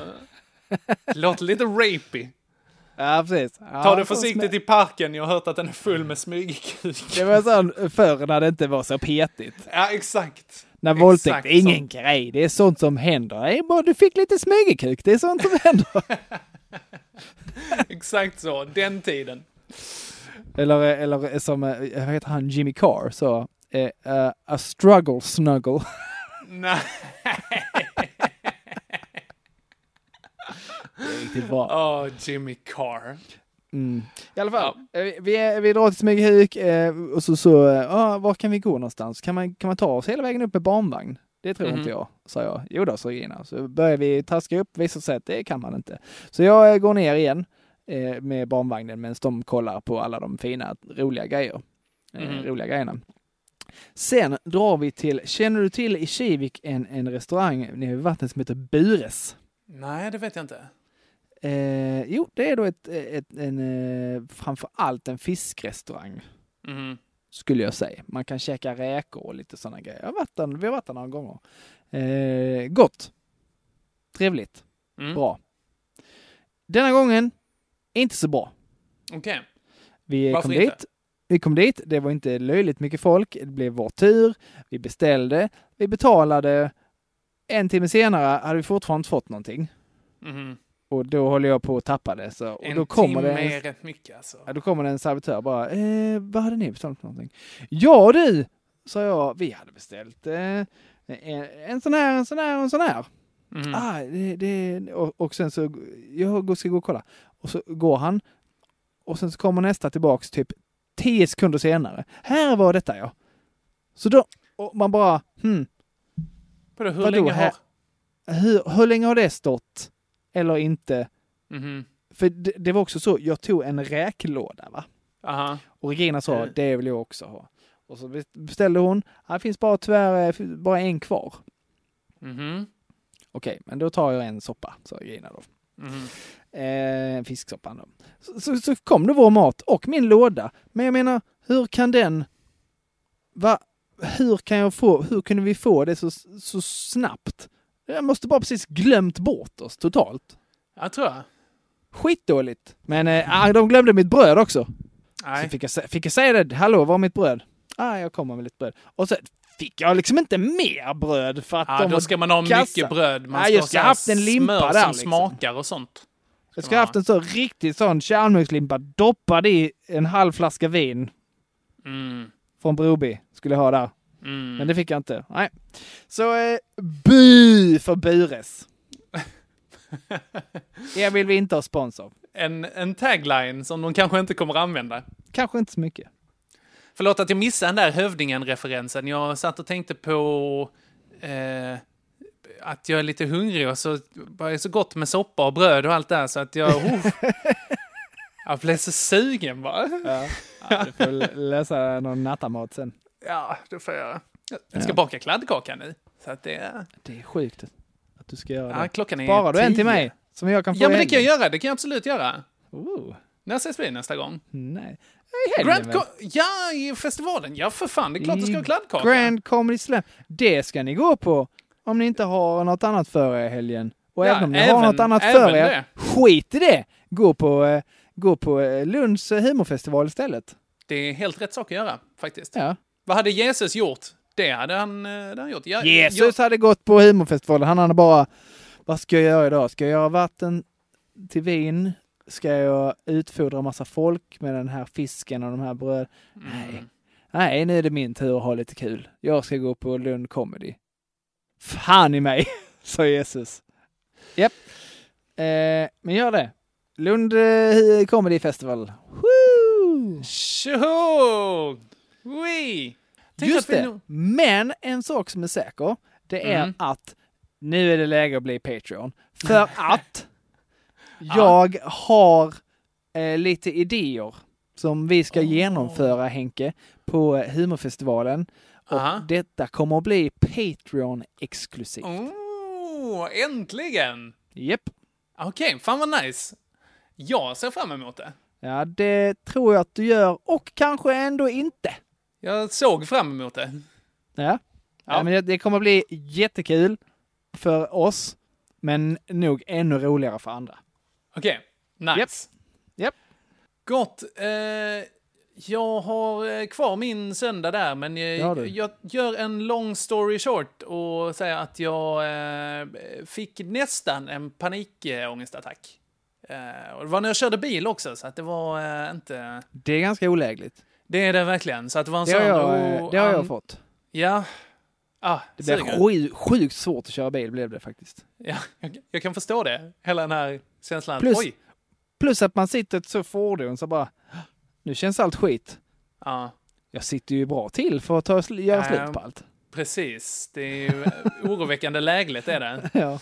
C: låter lite rapey.
D: Ja, precis.
C: Ta det försiktigt i parken, jag har hört att den är full med smygekuk.
D: Det var sån förr när det inte var så petigt.
C: Ja, exakt.
D: När
C: Exakt
D: våldtäkt är ingen
C: sånt.
D: grej. Det är sånt som händer. Det är bara, du fick lite smygekuk. Det är sånt som händer.
C: Exakt så, den tiden.
D: eller, eller som, eh, vad heter han, Jimmy Carr sa. Eh, eh, a struggle snuggle.
C: Nej.
D: Riktigt bra.
C: Åh, Jimmy Carr.
D: Mm. I alla fall, eh, vi- vi, vi drar till Smygehuk eh, och så, så eh, ah, var kan vi gå någonstans? Kan man, kan man ta oss hela vägen upp med barnvagn? Det tror inte jag, sa jag. Jo då, sa Regina. Så börjar vi traska upp, visar sig att det kan man inte. Så jag eh, går ner igen eh, med barnvagnen medan de kollar på alla de fina, roliga grejer. Eh, Roliga grejerna. Sen drar vi till, känner du till i Kivik en, en restaurang nere vid vattnet som heter Bures?
C: Nej, det vet jag inte.
D: Eh, jo, det är då ett, ett, en, eh, framför allt en fiskrestaurang
C: Mhm.
D: skulle jag säga. Man kan käka räkor och lite sådana grejer. Jag har varit där, vi har varit där några gånger. Eh, gott. Trevligt.
C: Mm.
D: Bra. Denna gången, inte så bra.
C: Okej.
D: Vi
C: Varför
D: kom
C: inte?
D: dit. Vi kom dit, det var inte löjligt mycket folk, det blev vår tur, vi beställde, vi betalade. En timme senare hade vi fortfarande inte fått någonting.
C: Mhm.
D: Och då håller jag på att tappa det. Så, och
C: En
D: då kommer
C: timme
D: det en-
C: är rätt mycket alltså.
D: Ja, då kommer det en servitör bara, eh, vad hade ni beställt för någonting? Ja du, sa jag, vi hade beställt eh, en, en sån här, en sån här och en sån här.
C: Mhm.
D: Ah, det, det, och, och sen så, jag ska gå och kolla. Och så går han, och sen så kommer nästa tillbaks typ tio sekunder senare. Här var detta ja. Så då, och man bara, hmm,
C: Vadå, hur
D: Vadå,
C: länge
D: här-
C: har...
D: hur, hur länge har det stått? Eller inte?
C: Mhm.
D: För det, det var också så, jag tog en räklåda va.
C: Aha.
D: Och Regina sa,
C: Mm.
D: det vill jag också ha. Och så beställde hon, "Ja, det finns bara tyvärr eh, f- bara en kvar.
C: Mhm.
D: Okej, men då tar jag en soppa, sa Regina då.
C: Mhm.
D: Eh, fisksoppan då. Så, så, så kom det vår mat och min låda. Men jag menar, hur kan den... Va? Hur kan jag få, hur kunde vi få det så, så snabbt? Jag måste bara precis glömt bort oss totalt.
C: Jag tror jag.
D: Skitdåligt. Men eh, ah, de glömde mitt bröd också. Så
C: Nej.
D: fick jag, sä- fick jag säga det, hallå var är mitt bröd? Ah, jag kommer med lite bröd. Och så fick jag liksom inte mer bröd för att
C: Ja,
D: de
C: då
D: var
C: ska man ha
D: kassa.
C: mycket bröd. Man
D: Ja,
C: ska
D: jag
C: ha
D: ska
C: så här
D: haft en limpa
C: smör
D: där,
C: som
D: liksom.
C: smakar och sånt.
D: Jag ska ha haft en sån riktig sån kärnmugnslimpa doppad i en halv flaska vin
C: Mm.
D: från Broby. Skulle jag ha där.
C: Mm.
D: Men det fick jag inte. Nej. Så eh, by för Bures. er vill vi inte ha spons av.
C: En, en tagline som de kanske inte kommer använda.
D: Kanske inte så mycket.
C: Förlåt att jag missade den där Hövdingen-referensen. Jag satt och tänkte på eh, att jag är lite hungrig och så var det så gott med soppa och bröd och allt det här så att jag... Oh, jag blev så sugen bara.
D: Ja, du får l- läsa någon nattamat sen.
C: Ja, det får jag. Jag ska baka kladdkaka nu. Så att det är...
D: Det är sjukt att du ska göra det.
C: Ja, klockan är
D: Sparar du en
C: tio.
D: till mig? Som jag kan få
C: Ja, men
D: i
C: det kan jag
D: helgen?
C: göra. Det kan jag absolut göra.
D: Oh,
C: När ses vi nästa gång?
D: nej. I helgen
C: Grand
D: väl?
C: Co- ja, i festivalen. Ja, för fan. Det är klart du ska ha
D: I
C: kladdkaka.
D: Grand Comedy Slam. Det ska ni gå på om ni inte har något annat för er i helgen. Och
C: Ja,
D: även om ni
C: även-
D: har något annat
C: även
D: för er,
C: det.
D: skit i det! Gå på, eh, gå på eh, Lunds eh, humorfestival istället.
C: Det är helt rätt sak att göra, faktiskt.
D: Ja.
C: Vad hade Jesus gjort? Det hade han, eh, det hade han gjort. Jag,
D: Jesus hade gått på humorfestivalen. Han hade bara, vad ska jag göra idag? Ska jag göra vatten till vin? Ska jag utfodra massa folk med den här fisken och de här bröd? Nej. Nej, nu är det min tur att ha lite kul. Jag ska gå på Lund Comedy. Fan i mig, sa Jesus. Japp. Eh, men gör det. Lund eh, Comedy Festival. Woo!
C: Tjoho! Oui! Tänk
D: Just
C: att vi
D: det.
C: nog-
D: Men en sak som är säker, det är
C: Mm.
D: att nu är det läge att bli Patreon. För att jag har eh, lite idéer som vi ska genomföra, Henke, på eh, humorfestivalen. Och
C: Aha.
D: detta kommer att bli Patreon-exklusivt.
C: Oh, äntligen!
D: Japp.
C: Okej, fan vad nice. Jag ser fram emot det.
D: Ja, det tror jag att du gör. Och kanske ändå inte.
C: Jag såg fram emot det.
D: Ja. Ja. men det, det kommer bli jättekul för oss, men nog ännu roligare för andra.
C: Okej, nice.
D: Japp.
C: Gott. Eh, jag har eh, kvar min söndag där, men eh,
D: har du.
C: jag gör en long story short och säger att jag eh, fick nästan en panikångestattack. Eh, och det var när jag körde bil också, så att det var eh, inte...
D: Det är ganska olägligt.
C: Det är det verkligen. Så att det var en
D: Det har
C: sån...
D: jag, eh,
C: oh,
D: det har
C: an-
D: jag fått.
C: Ja. Ah,
D: Det blev
C: suger.
D: sju- sjukt svårt att köra bil blev det faktiskt.
C: Ja, jag, jag kan förstå det. Hela den här känslan.
D: Plus-
C: Oj!
D: Plus att man sitter i ett så fordon så bara, nu känns allt skit.
C: Ja,
D: Jag sitter ju bra till för att ta, sl- göra
C: Ja.
D: slut på allt.
C: precis. Det är ju eh, oroväckande lägligt är det.
D: Ja.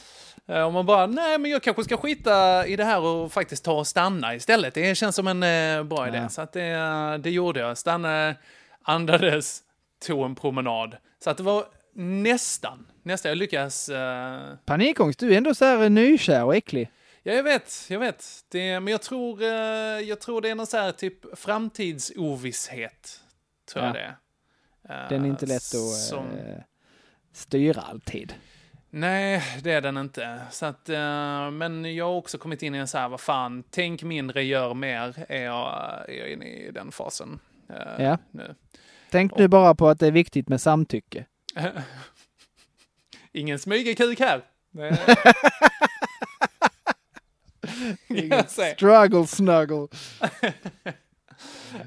C: Eh, Om man bara, nej men jag kanske ska skita i det här och faktiskt ta och stanna istället. Det känns som en eh, bra idé. Så att det, eh, det gjorde jag. Stannade, andades, tog en promenad. Så att det var nästan, nästan. Jag lyckades. eh,
D: Panikångest, du är ändå så här eh, nykär och äcklig.
C: Ja, jag vet, jag vet. Det, men jag tror, eh, jag tror det är någon så här typ framtidsovisshet. Tror jag
D: Ja.
C: det är. Eh,
D: Den är inte lätt att
C: som-
D: eh, styra alltid.
C: Nej, det är den inte. Så att, eh, men jag har också kommit in i en så här, vad fan, tänk mindre, gör mer, är jag, är jag inne i den fasen. eh,
D: Ja.
C: Nu.
D: Tänk nu bara på att det är viktigt med samtycke.
C: Ingen smygekuk här. Nej. Jag säger.
D: Struggle snuggle.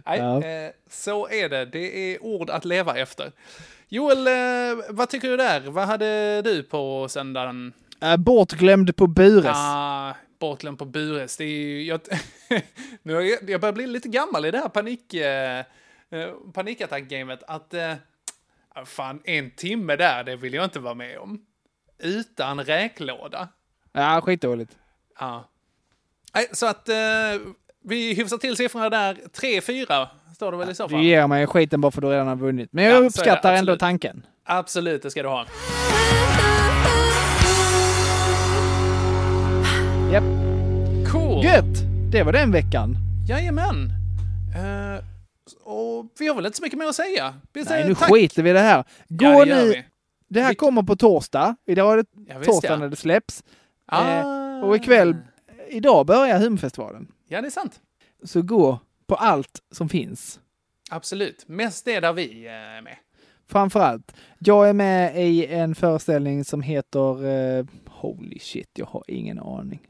C: Nej,
D: Ja.
C: eh, så är det. Det är ord att leva efter. Joel, eh, vad tycker du där? Vad hade du på söndagen?
D: Äh, bortglömd på Bures.
C: Ah, bortglömd på Bures. Det är ju, jag, nu har jag, jag börjar bli lite gammal i det här panik, eh, eh, panikattack-gamet. Att eh, ah, fan, en timme där, det vill jag inte vara med om. Utan räklåda.
D: Ja, skitdåligt.
C: Ja. Nej, så att eh, vi hyfsar till siffrorna där. 3-4 står det väl i så
D: Du
C: fall?
D: ger mig skiten bara för du redan har vunnit. Men jag
C: Ja, så är det,
D: uppskattar ändå
C: absolut.
D: tanken.
C: Absolut, det ska du ha.
D: Japp.
C: Cool.
D: Gött! Det var den veckan.
C: Jajamän. Eh, och vi har väl inte så mycket mer att säga. Vi säger
D: Nej, nu
C: tack.
D: skiter vi i det här. Gå
C: Ja, det gör
D: nu.
C: vi.
D: Det här
C: Vi-
D: kommer på torsdag. Idag är det
C: Ja, visst,
D: torsdag
C: ja. Mm.
D: när det släpps.
C: Ah.
D: Eh, och ikväll, idag börjar humfestivalen.
C: Ja, det är sant.
D: Så gå på allt som finns.
C: Absolut. Mest är där vi eh, är med.
D: Framförallt, jag är med i en föreställning som heter eh, Holy shit, jag har ingen aning.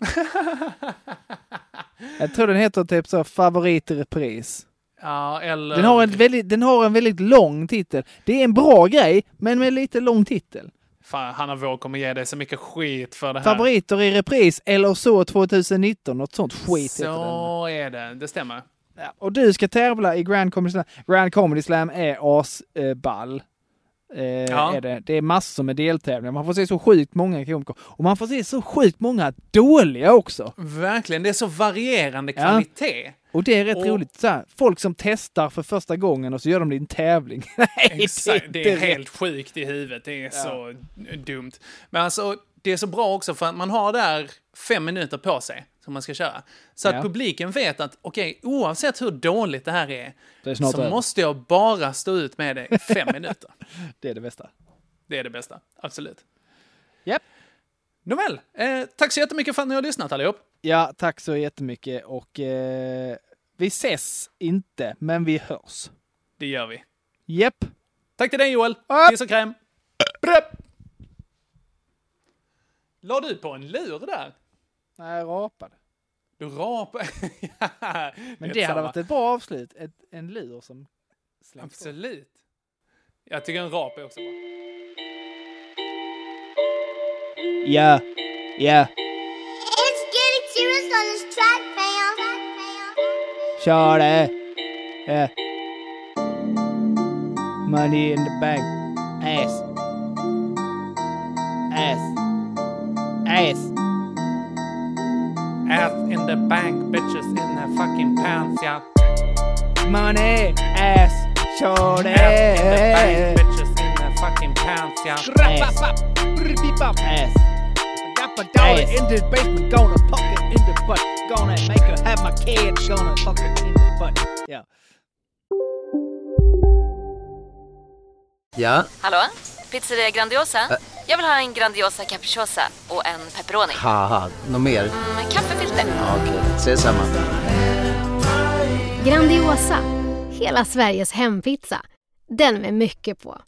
D: jag tror den heter typ så favorit i repris.
C: Ja, eller...
D: Den har, en väldigt, den har en väldigt lång titel. Det är en bra grej, men med lite lång titel.
C: Fan, Hanna Vår kommer ge dig så mycket skit för det här.
D: Favoriter i repris eller så 2019, något sånt skit heter den.
C: Så är det. Det stämmer.
D: Ja, Och du ska tävla i Grand Comedy Slam. Grand Comedy Slam är asball. Eh,
C: Ja.
D: är det. det är massor med deltävlingar. Man får se så sjukt många komiker. Och man får se så sjukt många dåliga också.
C: Verkligen. Det är så varierande
D: Ja.
C: kvalitet.
D: Och det är rätt
C: Och-
D: roligt. Så här, folk som testar för första gången och så gör de det i en tävling. Nej,
C: Exakt,
D: inte
C: det är
D: rätt.
C: helt sjukt i huvudet. Det är så dumt. Men alltså, det är så bra också för att man har där fem minuter på sig som man ska köra. Så att
D: Ja.
C: publiken vet att okej, oavsett hur dåligt det här är,
D: Det är snart
C: så
D: över.
C: måste jag bara stå ut med det i fem minuter.
D: Det är det bästa.
C: Det är det bästa, absolut.
D: Japp.
C: Nåväl, eh, tack så jättemycket för att ni har lyssnat allihop.
D: Ja, tack så jättemycket och eh, vi ses inte, men vi hörs.
C: Det gör vi.
D: Japp.
C: Tack till dig Joel.
D: Ja.
C: Kiss och kräm. Bröpp. La du på en lur där?
D: Nej, jag rapade.
C: Du rapar. ja,
D: Men det,
C: är
D: hade
C: samma.
D: varit ett bra avslut. Ett, en lur som Släng på.
C: Absolut. Jag tycker en rap är också bra.
D: Ja, ja.
J: It's getting serious on this track, man.
D: Kör det! Ja. Money in the bank. Ass. Ass. Ass.
C: Ass in the bank, bitches in the fucking pants, yeah.
D: Money. Ass. Kör det!
C: Ass
K: Eh,
C: in the bank, bitches in the fucking pants, yeah.
D: Ass. Ass. Down in the basement, gonna fuck it in the butt. Gonna make her have my kid, gonna fuck it in the butt. Ja.
K: Ja,
L: Hallå? Pizzeria Grandiosa?
K: Eh.
L: Jag vill ha en Grandiosa capriciosa och en pepperoni.
K: haha, något mer?
L: Med kaffefilter.
K: Ja, Okej, ses samma.
E: Grandiosa, hela Sveriges hempizza. Den med mycket på.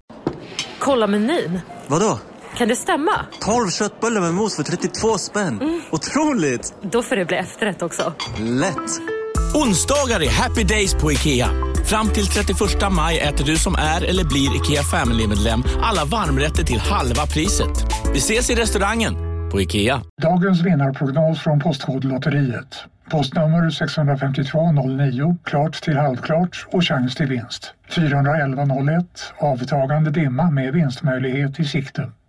M: Kolla menyn.
N: Vadå?
M: Kan det stämma? Mm.
N: 12 köttbullar med mos för 32 spänn. Otroligt!
M: Då får det bli efterrätt också.
N: Lätt!
O: Onsdagar är happy days på IKEA. Fram till 31 maj äter du som är eller blir IKEA Family-medlem alla varmrätter till halva priset. Vi ses i restaurangen på IKEA.
P: Dagens vinnarprognos från Postkodlotteriet. Postnummer 65209, klart till halvklart och chans till vinst. 41101, avtagande dimma med vinstmöjlighet i sikte.